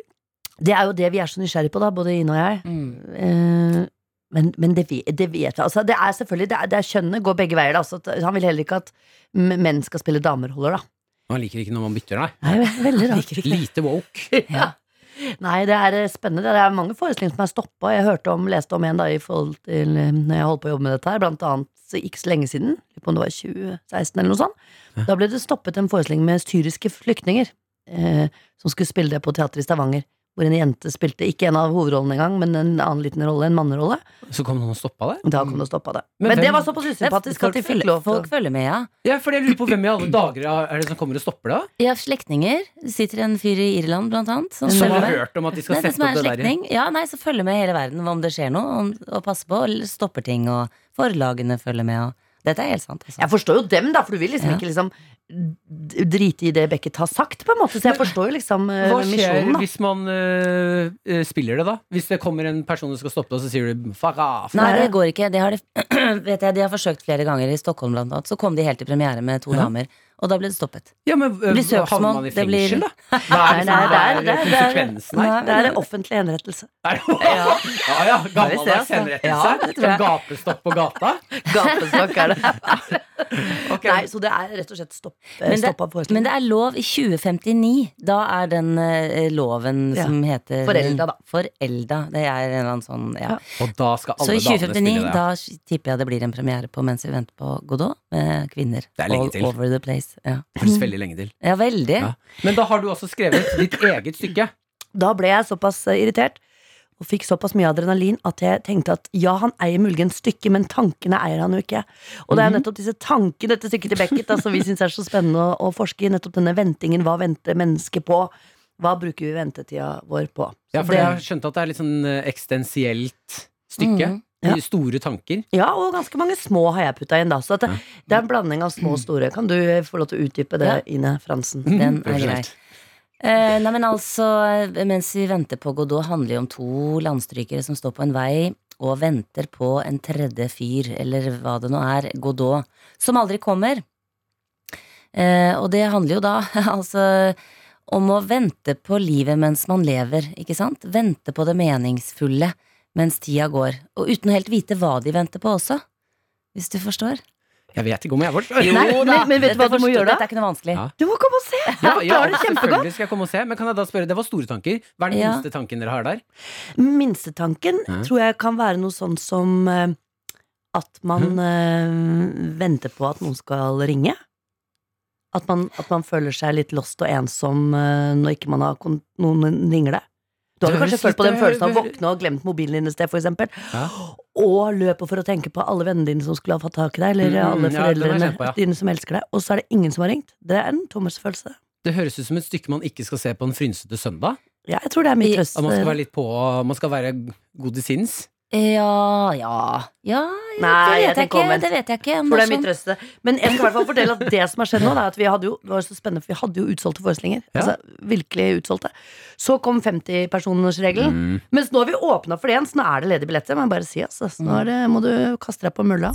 Det er jo det vi er så nysgjerrig på, da, både Ine og jeg. Eh, men, men det, ve- det vet jeg. Altså, det er selvfølgelig det er, det er Kjønnet går begge veier. Da. Altså, at han vil heller ikke at m- menn skal spille damerholder, da.
Man liker ikke når man bytter, nei.
Nei, ve- veldig rart.
Lite woke.
Ja. Nei, det er eh, spennende. Det er mange forestillinger som er stoppa. Jeg hørte om, leste om en da, i forhold til eh, når jeg holdt på å jobbe med dette her, blant annet så ikke så lenge siden, lurer på om det var 2016 eller noe sånt. Da ble det stoppet en forestilling med syriske flyktninger eh, som skulle spille det på teatret i Stavanger. Hvor en jente spilte ikke en av hovedrollene engang, men en annen liten rolle, en mannerolle.
Så kom noen og stoppa det?
Da kom det og stoppa det.
Men
Men, det
hvem-
var såpass usympatisk at de fikk lov til
Folk følger med, ja.
Ja, fordi jeg lurer på Hvem i alle dager er det som kommer og stopper det? da?
Jeg har slektninger. Det sitter en fyr i Irland, blant annet. Som,
Som
følger
har
med.
hørt om at de skal
Nei, det
sette
som er
opp
en
det der?
slektning. Ja, nei, så følger med hele verden om det skjer noe. om- Og passer på, og stopper ting, og forlagene følger med. Og... Dette er helt sant. Altså.
Jeg forstår jo dem, da, for du vil liksom
Ja.
ikke liksom d- drite i det Beckett har sagt, på en måte. Så jeg forstår jo liksom eh,
Hva skjer
misjonen, da.
hvis man øh, øh, spiller det, da? Hvis det kommer en person som skal stoppe deg, og så sier du 'fuck off'?
Nei,
Nei.
det går ikke. Det har de, vet jeg, de har forsøkt flere ganger i Stockholm, blant annet. Så kom de helt i premiere med to damer, og da ble det stoppet.
Ja, men øh,
Det blir søksmål,
havner man i
det blir-
fengsel, da? Hva er det som
Nei, nei,
er
det er- det er-
konsekvensen her?
Det er offentlig henrettelse.
Er det- Ja ja, gammeldags
Ja,
henrettelse?
det tror jeg.
Gapestopp på gata?
Gapestokk er det.
Ok.
Nei, så det er rett og slett stopp,
Men det-
stoppa
Men
forestilling.
det er lov i 2059. Da er den eh, loven
Ja.
som heter
Forelda, da.
Forelda. Det er en eller annen sånn, ja.
Ja.
Og da skal
Så
alle
i
damene spille
2059,
det?
da s- tipper jeg det blir en premiere på Mens vi venter på Godot, med kvinner
Det er lenge
all
til.
over the place. Ja,
Det Høres veldig lenge til.
ja veldig.
Ja. Men da har du også skrevet ditt eget stykke.
Da ble jeg såpass eh, irritert og fikk såpass mye adrenalin at jeg tenkte at ja, han eier muligens stykket, men tankene eier han jo ikke.
Mhm.
Og det er jo nettopp disse tankene dette stykket til Beckett da, som vi syns er så spennende å, å forske i. Nettopp denne ventingen. Hva venter mennesket på? Hva bruker vi ventetida vår på? Så
Ja, for jeg har skjønt at det er litt sånn øh, eksistensielt stykke.
Mhm.
Mm. Ja.
Store tanker.
ja, og ganske mange små har jeg putta inn, da. Så at det, det er en blanding av små og store. Kan du eh, få lov til å utdype det, Ine Fransen?
Mm.
Den er grei.
Profesjonelt.
Eh, nei, men altså, eh, Mens vi venter på Godot, handler jo om to landstrykere som står på en vei og venter på en tredje fyr, eller hva det nå er, Godot, som aldri kommer. Eh, og det handler jo da altså om å vente på livet mens man lever, ikke sant? Vente på det meningsfulle mens tida går. Og uten å helt vite hva de venter på også, hvis du forstår.
Jeg vet ikke om jeg forstår.
Nei, men- men vet du hva
Dette
du må
forstår-
gjøre da?
Dette er ikke noe vanskelig.
Ja.
Du må komme og se!
Ja, ja,
klarer det
selvfølgelig skal jeg komme og se. Men kan jeg da spørre, det var store tanker. Hva er den
Ja.
minste tanken dere har der?
Minstetanken
Ja.
tror jeg kan være noe sånn som eh, at man
Mhm.
eh, venter på at noen skal ringe. At man, at man føler seg litt lost og ensom eh, når ikke man har kon noen ringer deg. Du har
Det
jo kanskje
høres
følt på
litt-
den følelsen av å
det-
våkne og ha glemt mobilen din et sted, for eksempel.
Ja.
Og løpe for å tenke på alle vennene dine som skulle ha fått tak i deg, eller
Mm,
alle
ja, den har jeg
foreldrene
kjent på, ja.
dine som elsker deg, og så er det ingen som har ringt. Det er en tomhetsfølelse.
Det høres ut som et stykke man ikke skal se på en frynsete søndag.
Ja, jeg tror det er min
I-
trøst.
At man skal
eh,
være litt på, man skal være god i sinns.
Ja, ja, ja
Nei,
det
jeg
vet jeg
tenker
ikke.
omvendt.
Det vet jeg ikke om
For det
er
er mitt
sånn.
trøste. Men jeg skal i hvert fall fortelle at det som har skjedd nå, det er at vi hadde jo, det var så spennende, for vi hadde jo utsolgte forestillinger.
Ja.
Altså virkelig utsolgte. Så kom 50-personersregelen.
Mm.
Mens nå har vi åpna for det igjen, så nå er det ledige billetter. Men bare si, altså. Så nå er det, må du kaste deg på mølla.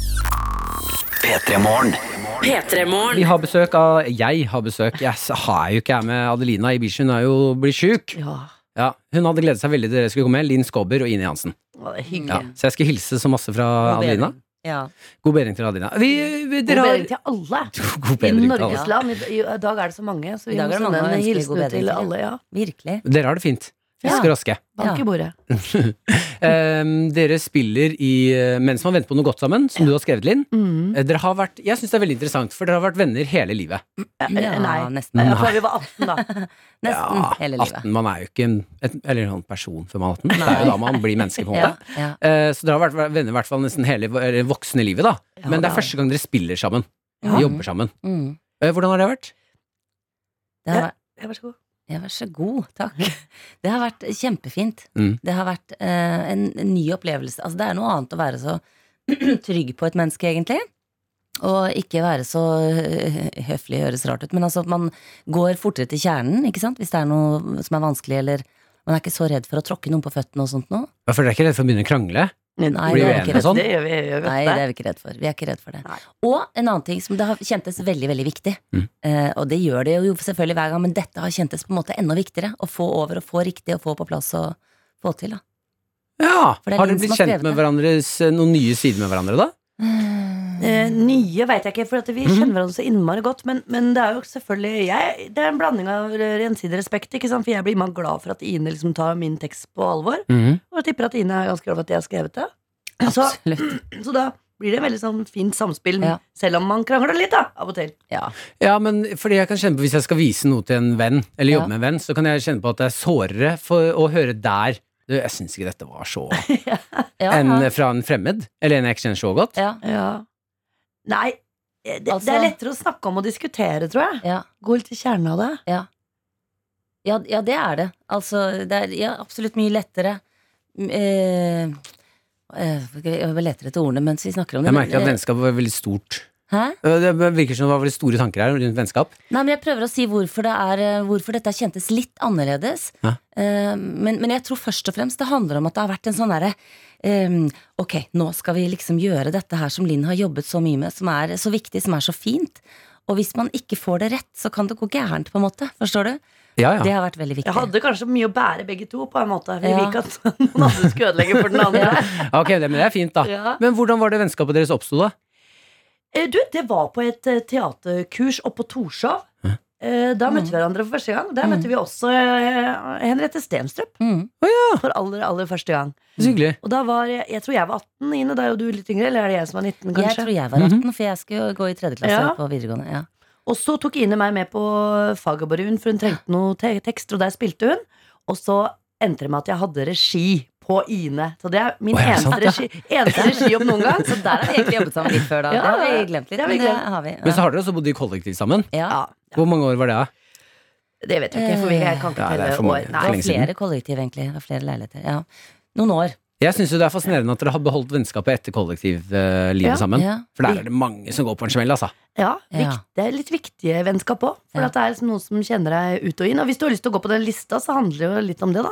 P3 Morgen.
Vi
P3morgen.
har besøk av Jeg har besøk. Jeg s- har jo ikke jeg med Adelina i bilen, hun er jo blitt sjuk.
Ja,
Ja, hun hadde gledet seg veldig til dere skulle komme. Linn Skåber og Ine Jansen.
det var
Ja,
hyggelig.
så jeg skal hilse så masse fra Adelina.
Ja.
God bedring til Adelina. Vi, vi,
God
dere har
bedring til alle.
God
I
bedring til alle.
Norges land. I, I dag er det så mange, så
I
vi
dag
må
er det mange
sende
å ønske god
en hilsen ut
bedring
til
til.
alle. Ja.
Virkelig.
Dere har det fint.
Ja.
Fisk og raske.
Bank i bordet.
Ehm, dere spiller i eh, Mens man venter på noe godt sammen, som du har skrevet, Linn.
Mm.
Eh, Dere har vært, jeg syns det er veldig interessant, for dere har vært venner hele livet.
Eh, Nei.
Ja, nesten.
Jeg tror vi var 18 da.
Nesten hele livet.
18, man er jo ikke en, et, eller en sånn person før man er 18. Det er jo da man blir menneske, på en måte.
Ja, ja.
Eh, Så dere har vært venner i hvert fall nesten hele eller voksne livet, da.
Ja,
Men det
da.
er første gang dere spiller sammen.
Ja.
Jobber sammen.
Mm.
Eh, Hvordan har det vært?
Det har vært
Ja, Vær så god.
Ja, vær så god. Takk. Det har vært kjempefint.
Mm.
Det har vært eh, en, en ny opplevelse. Altså, det er noe annet å være så trygg på et menneske, egentlig. Og ikke være så eh, høflig, høres rart ut, men altså at man går fortere til kjernen, ikke sant, hvis det er noe som er vanskelig, eller man er ikke så redd for å tråkke noen på føttene og sånt noe.
Ja, For dere er ikke redd for å begynne å krangle?
Nei, det
Blir du
er
enig
ikke
og
redd.
sånn?
Det gjør vi. Gjør vi
Nei,
ofte.
det er vi ikke redd for. Vi er ikke redd for det.
Nei.
Og en annen ting som det har kjentes veldig veldig viktig,
Mm.
eh, og det gjør det jo selvfølgelig hver gang, men dette har kjentes på en måte enda viktigere. Å få over og få riktig og få på plass og få til, da.
Ja!
For det er
Har dere
Linn som har
blitt kjent
skrevet
med
det.
hverandres eh, noen nye sider med hverandre, da?
Mm.
Eh, nye veit jeg ikke, for at vi kjenner hverandre så innmari godt. Men, men det er jo selvfølgelig jeg, Det er en blanding av eh, gjensidig respekt. Ikke sant? For jeg blir innmari glad for at Ine liksom tar min tekst på alvor.
Mhm.
Og jeg tipper at Ine er ganske glad for at jeg har skrevet det. Så,
Absolutt.
så da blir det veldig sånn fint samspill,
Ja.
selv om man krangler litt, da, av og til.
Ja.
Ja, men fordi jeg kan kjenne på Hvis jeg skal vise noe til en venn, eller
Ja.
jobbe med en venn, så kan jeg kjenne på at det er sårere for å høre der du, Jeg syns ikke dette var så
Ja,
Enn
ja.
fra en fremmed, eller en jeg ikke kjenner så godt.
ja.
Ja. Nei, eh, det, det
Altså-
er lettere å snakke om og diskutere, tror jeg.
Ja.
Gå litt i kjernen av det.
Ja, ja, det er det. Altså, det er ja, absolutt mye lettere. Mm, Eh, eh, jeg var lettere til ordene mens vi snakker om det.
Jeg
men,
merker at
eh,
vennskap var veldig stort.
Hæ?
Øh, Det virker som det var veldig store tanker her rundt vennskap.
Nei, men Jeg prøver å si hvorfor, det er, eh, hvorfor dette kjentes litt annerledes.
Ja.
Eh, men, men jeg tror først og fremst det handler om at det har vært en sånn derre eh, Ok, nå skal vi liksom gjøre dette her som Linn har jobbet så mye med, som er så viktig, som er så fint. Og hvis man ikke får det rett, så kan det gå gærent, på en måte. Forstår du?
Ja, ja.
Det har vært veldig viktig.
Jeg hadde kanskje mye å bære begge to, på en måte. Vi
Ja.
vil ikke at noen andre skulle ødelegge for den andre.
Ok, det, men det er fint, da.
Ja.
Men hvordan var det vennskapet deres oppsto, da?
Eh, Du, det var på et eh, teaterkurs oppe på Torshov. Eh, Da
Mm.
møtte vi hverandre for første gang. Der møtte vi også eh, Henriette Stenstrup
Mm.
for aller, aller første gang.
Så hyggelig.
Og da var jeg, jeg tror jeg var 18, Ine. Da er jo du litt yngre. Eller er det jeg som er 19,
Jeg
kanskje?
tror jeg var
Mhm.
18, for jeg skulle jo gå i tredje klasse
Ja.
på videregående. Ja.
Og så tok Ine meg med på Fagerborun, for hun trengte noe te tekster, og der spilte hun. Og så endte det med at jeg hadde regi på Ine. Så det er min
Å, er det
eneste,
sant?
regi, eneste regijobb noen gang.
Så der har vi egentlig jobbet sammen litt før, da.
Ja,
det har vi glemt litt.
det har vi
men det
glemt.
har vi.
Men så
Ja.
har dere også bodd i kollektiv sammen.
Ja.
Ja,
Hvor mange år var det? da?
det vet jeg ikke, for vi jeg kan ikke
Nei, det er
telle
for mange.
år.
Det
Nei,
var
lenge siden.
flere kollektiv, egentlig. Det var flere leiligheter. Ja. Noen år.
Jeg syns det er fascinerende at dere har beholdt vennskapet etter kollektivlivet
Ja.
sammen.
Ja.
For der er det mange som går på en smell, altså.
Ja,
Ja.
vikt, det er litt viktige vennskap òg. For
Ja.
at det er liksom noen som kjenner deg ut og inn. Og hvis du har lyst til å gå på den lista, så handler det jo litt om det, da.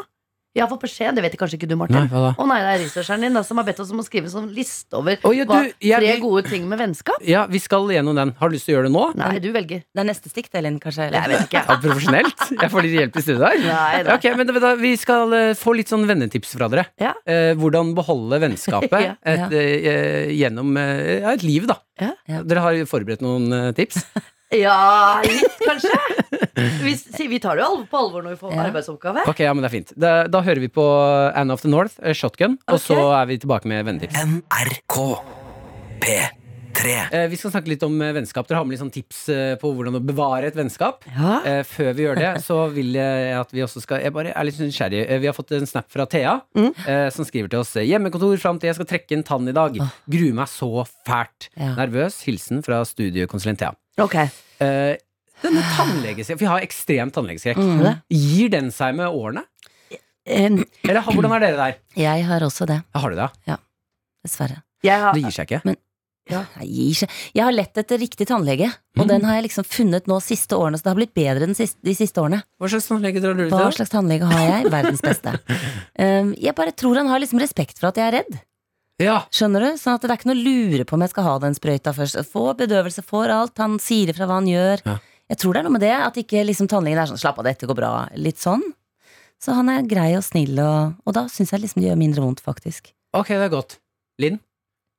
Jeg har fått beskjed, det vet kanskje ikke du,
Nei,
Martin.
hva da?
Å nei, det er researcheren din da, som har bedt oss om å skrive en sånn liste over
Å, ja,
hva,
du, jeg-
tre gode ting med vennskap.
Ja, vi skal gjennom den. Har du lyst til å gjøre det nå?
Nei, du velger.
Det er neste stikk, det, Linn, kanskje?
Jeg vet ikke.
Ja, profesjonelt? Jeg får litt hjelp i studio her.
Nei, nei.
Ok, men da, Vi skal eh, få litt sånn vennetips fra dere.
Ja.
Eh, hvordan beholde vennskapet
Ja.
Ja.
et, eh, gjennom eh, ja, et liv, da.
Ja.
Ja.
Dere har forberedt noen eh, tips.
Ja, litt kanskje. Vi, si- vi tar det jo alvor- på alvor når vi får
Ja.
arbeidsoppgave.
Ok, ja, men det er fint. Da, da hører vi på Anne of the North, eh, Shotgun, og så er vi tilbake med vennetips.
NRK P3
Eh, vi skal snakke litt om eh, vennskap. Dere har med litt sånn tips eh, på hvordan å bevare et vennskap.
Ja.
Eh, før vi gjør det, så vil jeg at vi også skal Jeg bare er litt nysgjerrig. Eh, Vi har fått en snap fra Thea, eh, som skriver til oss Hjemmekontor fram til jeg skal trekke en tann i dag. Gruer meg så fælt.
Ja.
Nervøs. Hilsen fra studiekonsulent Thea.
Ok.
Eh, denne tannlegeskrekk For jeg har ekstrem tannlegeskrekk. Gir den seg med årene?
Em,
Eller ha- hvordan er dere der?
Jeg har også det,
Ja, Har du det? ja?
dessverre.
jeg har,
Det gir seg ikke?
Jeg, gir seg. jeg har lett etter riktig tannlege, og den har jeg liksom funnet nå siste årene, så det har blitt bedre den siste, de siste årene.
Hva slags tannlege drar du
Hva
til?
slags tannlege har jeg? Verdens beste. Um, jeg bare tror han har liksom respekt for at jeg er redd.
Ja,
Skjønner du? Sånn at det er ikke noe å lure på om jeg skal ha den sprøyta først. Få bedøvelse, får alt. Han sier ifra hva han gjør.
Ja.
Jeg tror det er noe med det, at ikke liksom tannlegen er sånn 'slapp av, dette går bra'. Litt sånn. Så han er grei og snill, og, og da syns jeg liksom det gjør mindre vondt, faktisk.
ok, det er godt. Linn?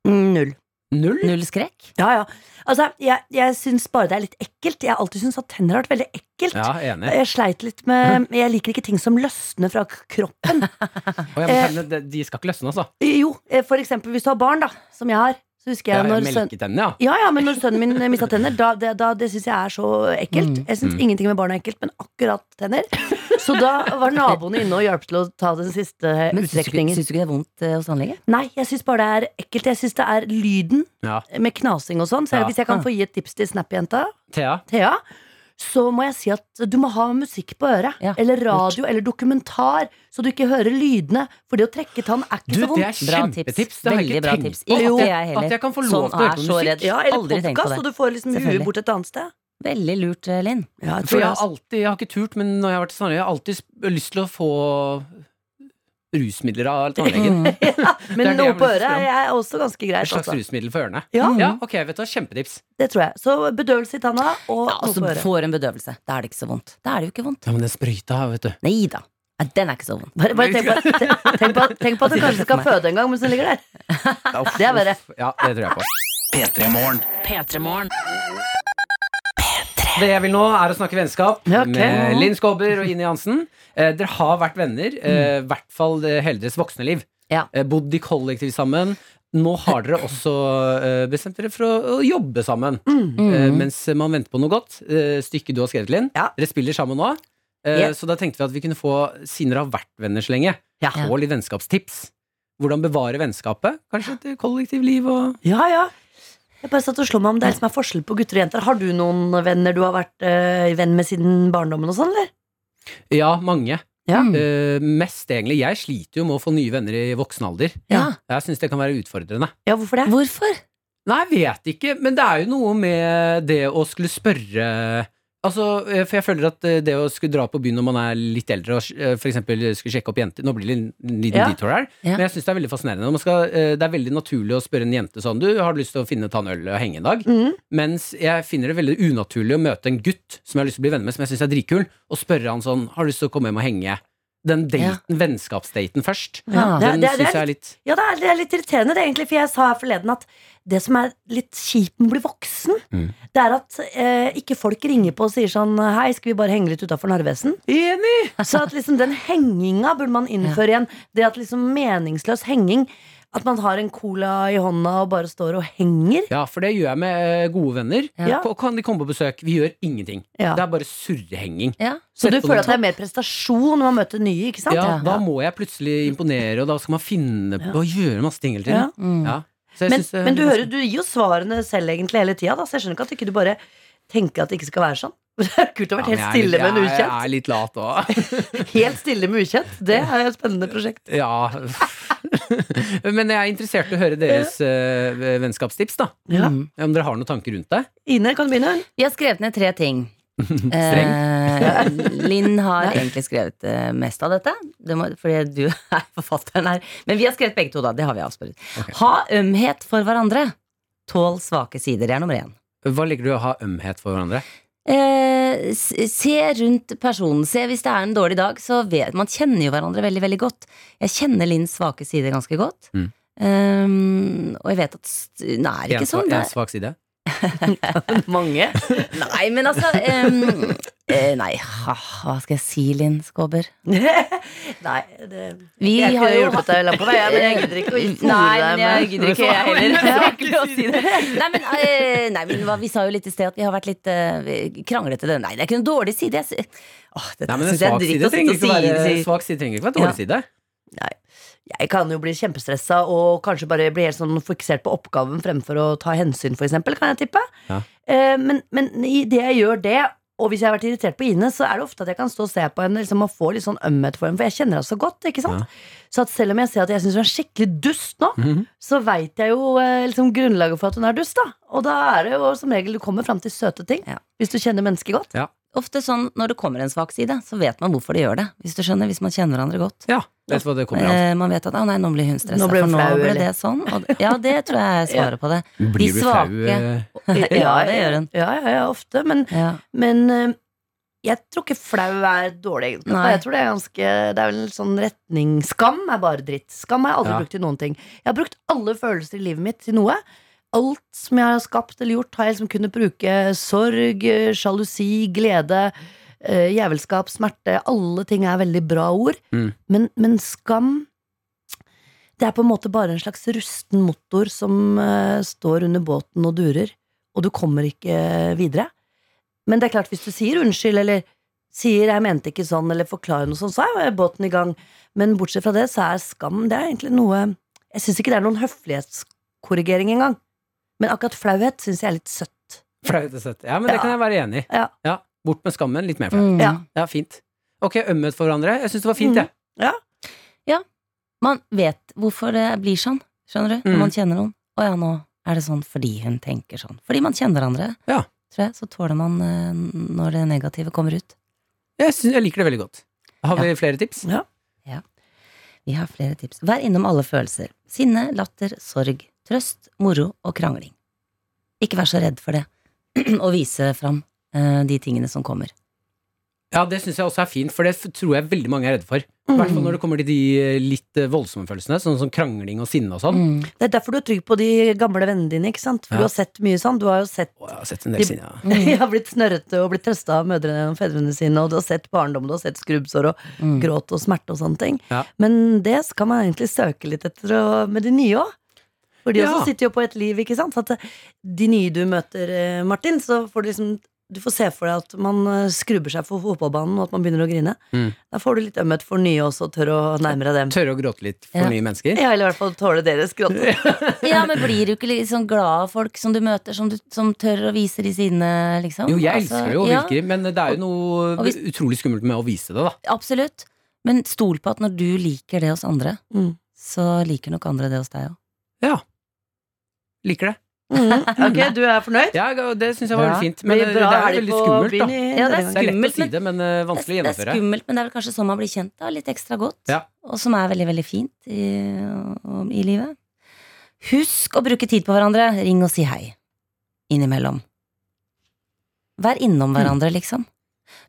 mm, null.
Null?
Null skrekk?
Ja, ja. Altså, jeg, jeg syns bare det er litt ekkelt. Jeg har alltid syntes at tenner har vært veldig ekkelt.
Ja, enig.
Jeg sleit litt med Jeg liker ikke ting som løsner fra k- kroppen.
Å, ja, men tennene, de- de skal ikke løsne, altså.
Jo, eh, for eksempel hvis du har barn, da, som jeg har, så husker
Ja,
jeg når sønnen
Melketennene, ja.
ja, ja, men når sønnen min mista tenner, da, det, da, det syns jeg er så ekkelt. Jeg syns ingenting med barn er ekkelt, men akkurat tenner. Så da var naboene inne og hjalp til å ta den siste eh,
Men syns du, ikke,
utstrekningen.
syns du ikke det er vondt eh, hos tannlege?
Nei, jeg syns bare det er ekkelt. Jeg syns det er lyden
ja.
med knasing og sånn. Så
Ja.
hvis jeg kan få gi et tips til Snap-jenta,
Thea?
Thea, så må jeg si at du må ha musikk på øret.
Ja,
Eller radio eller dokumentar, så du ikke hører lydene. For det å trekke tann er
Du,
ikke så
det
vondt.
er
Bra
kjempetips.
tips.
Det har
Veldig
jeg
bra
ikke tenkt
tips.
på.
Ikke jeg
at,
heller.
at jeg kan få
Sånn
lov til å
er
høre på
så
musikk.
redd.
Ja, eller
Aldri tenkt på
podkast,
det.
så du får liksom huet
Selvfølgelig.
bort et annet sted.
Veldig lurt, eh, Linn.
Ja, jeg tror
For jeg
det,
har
altså.
alltid, jeg har ikke turt, men når jeg har vært snarere, jeg har alltid sp- lyst til å få rusmidler av tannlegen. Det
Men
er det
noe
jeg
på
vil
øret
spørre om.
er er også ganske
Et
greit.
slags
Altså.
rusmiddel for ørene.
Ja,
Ja, ok, vet du, hva, kjempetips.
det tror jeg. Så bedøvelse i tanna og
Ja,
noe
altså
på øret.
får en bedøvelse. Da er det ikke så vondt. Da er det jo ikke vondt.
Ja, men den sprøyta, vet du.
Nei da. Nei, Den er ikke så vond.
Bare, bare tenk, på, te- tenk, på, tenk på at du kanskje skal føde en gang mens den ligger der. Det er verre.
Ja, det tror jeg på.
P3 Morgen.
P3morgen.
Det jeg vil nå, er å snakke vennskap
Ja, ok.
med Linn Skåber og Ine Jansen. Eh, dere har vært venner, i
Mm.
eh, hvert fall det- hele deres voksne liv.
Ja.
Eh, bodd i kollektiv sammen. Nå har dere også eh, bestemt dere for å, å jobbe sammen.
Mm.
Eh, mens man venter på noe godt. Eh, stykket du har skrevet, Linn.
Ja.
Dere spiller sammen nå. Eh,
Yeah.
Så da tenkte vi at vi kunne få, siden dere har vært venner så lenge,
Ja.
få litt vennskapstips. Hvordan bevare vennskapet? Kanskje et kollektivliv og
Ja, ja. Jeg bare satt og slo meg om det er som er forskjell på gutter og jenter. Har du noen venner du har vært eh, venn med siden barndommen og sånn, eller?
Ja, mange.
Ja.
Eh, mest egentlig. Jeg sliter jo med å få nye venner i voksen alder.
Ja.
Jeg syns det kan være utfordrende.
Ja, hvorfor det?
Hvorfor?
Nei, jeg vet ikke, men det er jo noe med det å skulle spørre Altså, eh, For jeg føler at eh, det å skulle dra på byen når man er litt eldre og eh, for eksempel skulle sjekke opp jenter Nå blir det en liten
Ja.
detour her,
Ja.
men jeg syns det er veldig fascinerende. Når Man skal, eh, det er veldig naturlig å spørre en jente sånn Du, har du lyst til å finne ta en øl og henge en dag?
Mhm.
Mens jeg finner det veldig unaturlig å møte en gutt som jeg har lyst til å bli venner med, som jeg syns er dritkul, og spørre han sånn Har du lyst til å komme hjem og henge? Den daten, vennskapsdaten først.
Ja.
Det er-
Den
det er- det
syns
er
jeg er litt
Ja, det er, det er litt irriterende, det, egentlig. For jeg sa her forleden at det som er litt kjipt med å bli voksen,
Mm.
det er at eh, ikke folk ringer på og sier sånn Hei, skal vi bare henge litt utafor Narvesen?
Enig!
Så at liksom den henginga burde man innføre igjen. Det at liksom meningsløs henging At man har en cola i hånda og bare står og henger.
Ja, for det gjør jeg med eh, gode venner.
Ja.
Ko- Kan de komme på besøk? Vi gjør ingenting.
Ja.
Det er bare surrehenging.
Ja.
Så du
Sett på
føler
noen
at det er mer prestasjon når man møter nye, ikke sant?
Ja,
Ja.
da må jeg plutselig imponere, og da skal man finne på å gjøre masse ting hele tiden.
Mm.
Ja. Så jeg
Men,
synes eh, det er
men du,
ganske-
hører, du gir jo svarene selv egentlig hele tida, da, så jeg skjønner ikke at ikke du bare tenker at det ikke skal være sånn. Det er kult å
Ja,
være
men
helt
jeg er
stille
litt-
med en
jeg-
ukjent.
Jeg er litt lat òg.
Helt stille med ukjent. Det er jo et spennende prosjekt.
Ja. Men jeg er interessert i å høre deres eh, vennskapstips, da.
Ja.
Mm.
Om dere har noen tanker rundt det.
Ine, kan du begynne?
Vi har skrevet ned tre ting. Eh, Linn har egentlig skrevet eh, mest av dette, det må, fordi du er forfatteren her. Men vi har skrevet begge to, da. Det har vi avspurt. Ha ømhet for hverandre. Tål svake sider. Det er nummer én.
Hva liker du å ha ømhet for hverandre?
Eh, s- se rundt personen. Se hvis det er en dårlig dag, så vet man kjenner jo hverandre veldig veldig godt. Jeg kjenner Linns svake side ganske godt.
Mm.
Eh, og jeg vet at st- Hun er ikke
En sva-
sånn.
en
Det,
svak side?
Mange.
nei, men altså eh, eh, Nei, ha, hva skal jeg si, Linn Skåber?
Nei, det
Vi
Jeg
har
kunne
jo
hjulpet deg langt på vei, jeg, men jeg gidder ikke å fôre
Nei,
deg
men jeg
med-
gidder ikke, jeg heller. Det er ikke lov å si det. Nei, men, eh, nei, men hva- vi sa jo litt i sted at vi har vært litt eh, kranglete. det- Nei, det er ikke noen dårlig side. Jeg, sy- Åh, dette
Nei, men en
synes jeg er
svak
dritt
side
å sitte og
trenger ikke å være
si. si.
svak side trenger ikke å være dårlig side.
Jeg kan jo bli kjempestressa og kanskje bare bli helt sånn fokusert på oppgaven fremfor å ta hensyn, for eksempel, kan jeg tippe.
Ja.
Eh, Men, men i det jeg gjør det, og hvis jeg har vært irritert på Ine, så er det ofte at jeg kan stå og se på henne liksom, og få litt sånn ømhet for henne, for jeg kjenner henne så godt. ikke sant?
Ja.
Så at selv om jeg ser at jeg syns hun er skikkelig dust nå,
Mhm.
så veit jeg jo eh, liksom, grunnlaget for at hun er dust, da. Og da er det jo som regel du kommer fram til søte ting,
Ja.
hvis du kjenner mennesket godt.
Ofte sånn når det kommer en svak side, så vet man hvorfor de gjør det. Hvis du skjønner, hvis man kjenner hverandre godt.
Ja, vet du hva det kommer av.
Eh, man vet at 'å nei, nå blir hun stressa',
Nå ble hun
for nå
flau,
ble
eller?
det sånn. Og, ja, det tror jeg er svaret på det.
Blir du flau?
svake.
eh,
Ja, det gjør hun.
Ja, ja, ja ofte. Men,
Ja.
men eh, jeg tror ikke flau er dårlig egenskap.
Nei.
Jeg tror det er ganske Det er vel en sånn retning Skam er bare dritt. Skam har jeg aldri
Ja.
brukt til noen ting. Jeg har brukt alle følelser i livet mitt til noe. alt som jeg har skapt eller gjort, har jeg liksom kunnet bruke sorg, eh, sjalusi, glede, eh, jævelskap, smerte. Alle ting er veldig bra ord.
Mm.
Men, men skam Det er på en måte bare en slags rusten motor som eh, står under båten og durer, og du kommer ikke videre. Men det er klart, hvis du sier unnskyld, eller sier 'jeg mente ikke sånn', eller forklarer noe sånn, så er jo båten i gang. Men bortsett fra det, så er skam det er egentlig noe Jeg syns ikke det er noen høflighetskorrigering engang. Men akkurat flauhet syns jeg er litt søtt.
Flaut og søtt. Ja, men det
Ja.
kan jeg være enig i.
Ja.
Bort med skammen, litt mer flaut.
Mm.
Ja.
Ja, fint. Ok, ømhet for hverandre. Jeg syns det var fint,
Mm.
jeg.
Man vet hvorfor det blir sånn, skjønner du?
Mm.
Når man kjenner noen. Å ja, nå er det sånn fordi hun tenker sånn. Fordi man kjenner hverandre,
Ja.
tror jeg. Så tåler man eh, når det negative kommer ut.
Jeg, syns- jeg liker det veldig godt. Har vi flere tips?
Ja.
Vi har flere tips. Vær innom alle følelser. Sinne, latter, sorg, trøst, moro og krangling. Ikke vær så redd for det, og vise fram eh, de tingene som kommer.
Ja, det syns jeg også er fint, for det f- tror jeg veldig mange er redde for. I hvert
Mm.
fall når det kommer til de eh, litt eh, voldsomme følelsene, sånn som krangling og sinne og sånn.
Mm.
Det er derfor du er trygg på de gamle vennene dine. ikke sant?
Ja.
For Du har sett mye sånn. Du har jo sett
Å, jeg har sett en del sinne, ja.
Jeg har blitt snørrete og blitt trøsta av mødrene og fedrene sine, og du har sett barndom, du har sett skrubbsår og
Mm.
gråt og smerte og sånne ting.
Ja.
Men det skal man egentlig søke litt etter og, med de nye òg. For de
Ja.
også sitter jo på et liv, ikke sant. Så at eh, de nye du møter, eh, Martin, så får du liksom du får se for deg at man eh, skrubber seg for fotballbanen og at man begynner å grine.
Mm.
Da får du litt ømhet for nye også, og tør å nærme deg dem.
Tørre å gråte litt for
Ja.
nye mennesker.
Ja, eller i hvert fall tåle deres gråt.
Ja, men blir du ikke litt sånn glad av folk som du møter, som, du, som tør å vise de sine, liksom?
Jo, jeg
Altså,
elsker det jo
ja,
virkelig, men det er jo noe
og hvis-
utrolig skummelt med å vise det, da.
Absolutt. Men stol på at når du liker det hos andre,
Mm.
så liker nok andre det hos deg òg.
Liker det.
Mhm. Ok, du er fornøyd?
Ja, det syns jeg var
Bra.
veldig fint, men eh, det er jo
helg
veldig
på
skummelt,
byen
da.
i-
Ja, det er
Det er lett å
Skummelt,
si
men-
det, men eh, vanskelig å
Det er
gjennomføre.
skummelt, men det er vel kanskje sånn man blir kjent da, litt ekstra godt.
Ja.
Og som er veldig, veldig fint i, og- i livet. Husk å bruke tid på hverandre. Ring og si hei. Innimellom. Vær innom hverandre,
Mm.
liksom.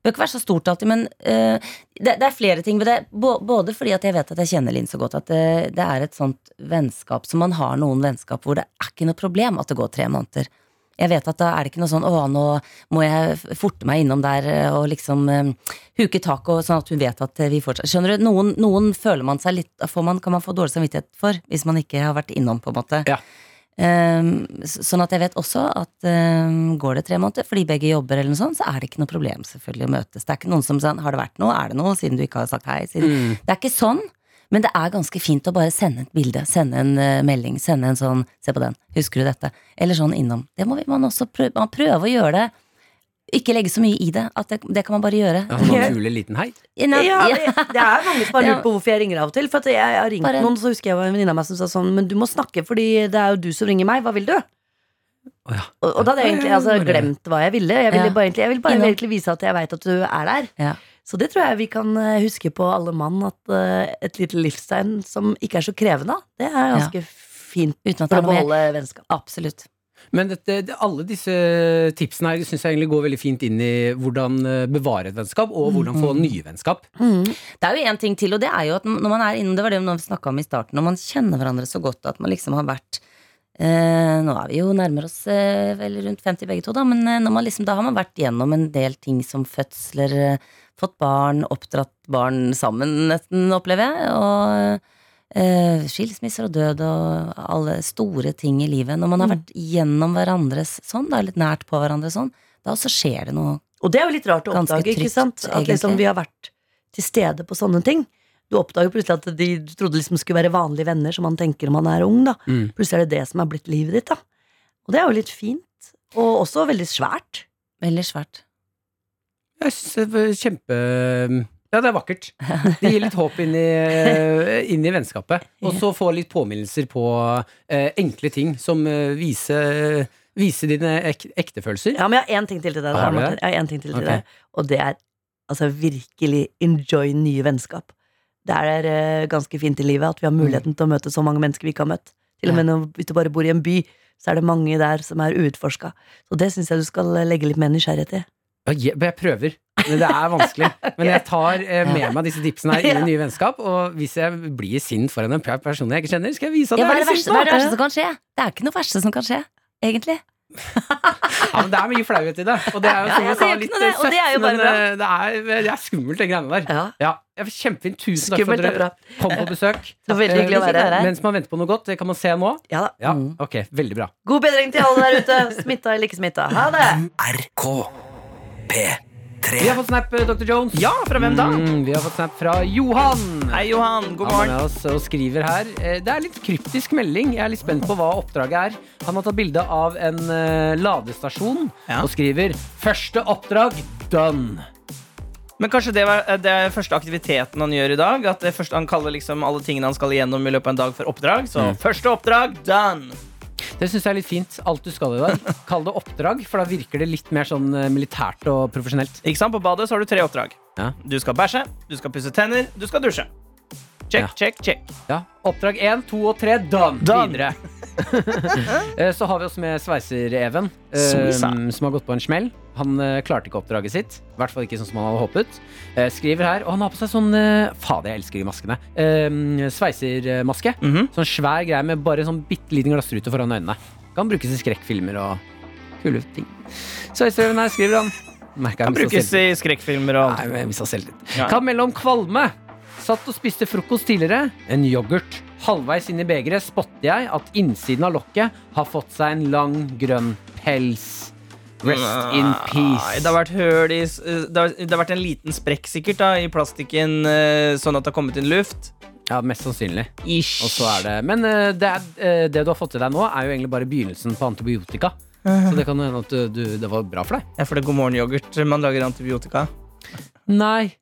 Det bør ikke være så stort alltid, men eh, det, det er flere ting. Men det, er bå- både fordi at jeg vet at jeg kjenner Linn så godt, at det, det er et sånt vennskap som man har noen vennskap hvor det er ikke noe problem at det går tre måneder. Jeg vet at da er det ikke noe sånn 'Å, nå må jeg f- forte meg innom der eh, og liksom eh, huke tak', og sånn at hun vet at eh, vi fortsatt Skjønner du? Noen, noen føler man seg litt får man, Kan man få dårlig samvittighet for hvis man ikke har vært innom, på en måte.
Ja.
Ehm, s- sånn at jeg vet også at ehm, går det tre måneder, fordi begge jobber, eller noe sånt, så er det ikke noe problem selvfølgelig å møtes. Det er ikke noen som sier 'Har det vært noe? Er det noe?' siden du ikke har sagt hei. Siden.
Mm.
Det er ikke sånn, men det er ganske fint å bare sende et bilde, sende en eh, melding, sende en sånn 'se på den, husker du dette?' eller sånn innom. Det må vi- man også prøve, man prøver å gjøre det. Ikke legge så mye i det. At det, det kan man bare gjøre.
Ja, sånn naturlig liten hei.
Innan-
Ja,
ja.
det, det er mange som har
Ja.
lurt på hvorfor jeg ringer av og til. For at jeg, jeg har ringt
Bare-
noen, så husker jeg det var en venninne av meg som sa sånn Men du må snakke, fordi det er jo du som ringer meg. Hva vil du?
Å ja.
Og, og da hadde jeg egentlig altså, glemt hva jeg ville. Jeg ville
Ja.
bare, egentlig, jeg ville bare
Innom.
egentlig vise at jeg veit at du er der.
Ja.
Så det tror jeg vi kan eh, huske på alle mann, at eh, et lite livstegn som ikke er så krevende, det er ganske fint
Uten at det er
for å
noe mer.
beholde vennskap.
Absolutt.
Men dette, det, alle disse tipsene her syns jeg egentlig går veldig fint inn i hvordan eh, bevare et vennskap, og hvordan
Mm.
få nye vennskap.
Mm.
Det er jo en ting til, og det er jo at når man er innom Det var det vi snakka om i starten, når man kjenner hverandre så godt at man liksom har vært eh, Nå er vi jo nærmer oss eh, vel rundt 50 begge to, da, men eh, når man liksom, da har man vært gjennom en del ting som fødsler, eh, fått barn, oppdratt barn sammen, nesten, opplever jeg, og eh, skilsmisser og død og alle store ting i livet. Når man har vært gjennom hverandres sånn, da, litt nært på hverandre sånn, da også skjer det noe
Og det er jo litt rart å
Ganske
oppdage,
trygt,
ikke sant? At liksom
egentlig.
vi har vært til stede på sånne ting. Du oppdager plutselig at de du trodde liksom skulle være vanlige venner, som man tenker når man er ung, da.
Mm.
Plutselig er det det som er blitt livet ditt, da. Og det er jo litt fint. Og også veldig svært.
veldig svært.
Jeg syns det er kjempe Ja, det er vakkert. Det gir litt håp inn i, eh, inn i vennskapet. Og så få litt påminnelser på eh, enkle ting som eh, vise, vise dine ek, ekte følelser.
Ja, men jeg har én ting til til deg.
Har
Da,
du
Martin.
det?
Jeg har én ting til til
Ok.
deg, og det er altså virkelig enjoy nye vennskap. Det er eh, ganske fint i livet at vi har
Mm.
muligheten til å møte så mange mennesker vi ikke har møtt. Til og med når, hvis du bare bor i en by, så er det mange eh, der som er uutforska. Så det syns jeg du skal legge litt mer nysgjerrighet i.
Ja, jeg, jeg prøver. men det er vanskelig. Men jeg tar eh, med meg disse tipsene her inn i nye vennskap, og hvis jeg blir sint foran en person jeg ikke kjenner, skal jeg vise at
Ja, hva sånn er det
jeg er
verste,
sint
hva
nå.
er det verste som kan skje? Det er ikke noe verste som kan skje, egentlig.
Ja, men det er mye flauhet i det, og det er jo
Ja,
som
jeg
jeg sa
sier ikke
litt
noe det,
eh,
og det er jo
søtt,
bare
men eh, det er, det er skummelt, de greiene der.
Ja.
Ja, jeg er Kjempefint. Tusen takk for
Skummelt
at
er
dere
bra.
kom på besøk.
Det var veldig hyggelig å
Eh,
være her. Mm.
Mens man venter på noe godt, det kan man se nå.
Ja da.
Ja, ok, veldig bra.
God bedring til alle der ute. Smitta eller ikke smitta. Ha det!
Vi har fått snap, eh, Dr. Jones.
Ja, fra hvem da?
Mm, vi har fått snap fra Johan.
Hei, Johan. God
Han er
morgen.
med oss og skriver her. eh, Det er litt kryptisk melding. Jeg er litt spent på hva oppdraget er. Han har tatt bilde av en eh, ladestasjon
Ja.
og skriver 'Første oppdrag done'.
Men kanskje det var eh, det er første aktiviteten han gjør i dag? At det første, Han kaller liksom alle tingene han skal igjennom i løpet av en dag, for oppdrag.
Mm.
Så første oppdrag done!
Det syns jeg er litt fint. Alt du skal i dag. Kall det oppdrag, for da virker det litt mer sånn eh, militært og profesjonelt.
Ikke sant? På badet så har du tre oppdrag.
Ja.
Du skal bæsje, du skal pusse tenner, du skal dusje. Check,
Ja.
check, check.
Ja. Oppdrag én, to og tre done.
Done.
Videre. Eh, Så har vi oss med sveiser-Even, eh,
Sveisa.
som har gått på en smell. Han eh, klarte ikke oppdraget sitt. I hvert fall ikke sånn som han hadde håpet. Eh, Skriver her, og han har på seg sånn eh, Fader, jeg elsker de maskene. Eh, Sveisermaske.
Mhm.
Sånn svær greie med bare sånn bitte liten glassrute foran øynene. Kan brukes i skrekkfilmer og kule ting. Sveiser-Even her, skriver han. Merker jeg
Kan
mistet
brukes
selvtillit.
i skrekkfilmer og
Nei, men jeg mistet selvtillit.
Ja.
Kan melde om kvalme. Satt og spiste frokost tidligere. En yoghurt. Halvveis inn i begeret spotter jeg at innsiden av lokket har fått seg en lang, grønn pels. Rest in
Nei,
peace.
Det har vært høl i s- eh, det har, det har vært en liten sprekk sikkert da, i plastikken, eh, sånn at det har kommet inn luft.
Ja, mest sannsynlig.
Ish.
Og så er det Men eh, det, er, eh, det du har fått til deg nå, er jo egentlig bare begynnelsen på antibiotika. Så det kan jo hende at du, du, det var bra for deg.
Ja, for det er god morgen-yoghurt man lager antibiotika.
Nei,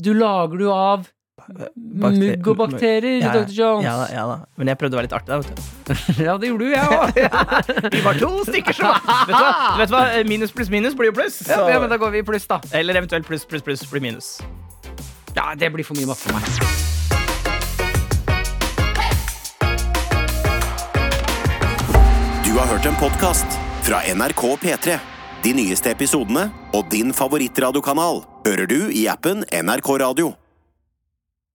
du lager det jo av
bakter-
mugg og bakterier,
Ja,
dr. Jones.
Ja, da, ja da. Men jeg prøvde å være litt artig der. Vet du.
ja, det gjorde jo jeg òg.
Vi var to stykker som var vet du, hva? vet du hva? Eh, Minus pluss minus blir jo pluss.
Ja,
så-
ja, men da går vi i pluss, da.
Eller eventuelt pluss pluss pluss blir minus.
Ja, det blir for mye matte for meg.
Du har hørt en podcast fra NRK P3. De nyeste episodene og din favorittradiokanal hører du i appen NRK Radio.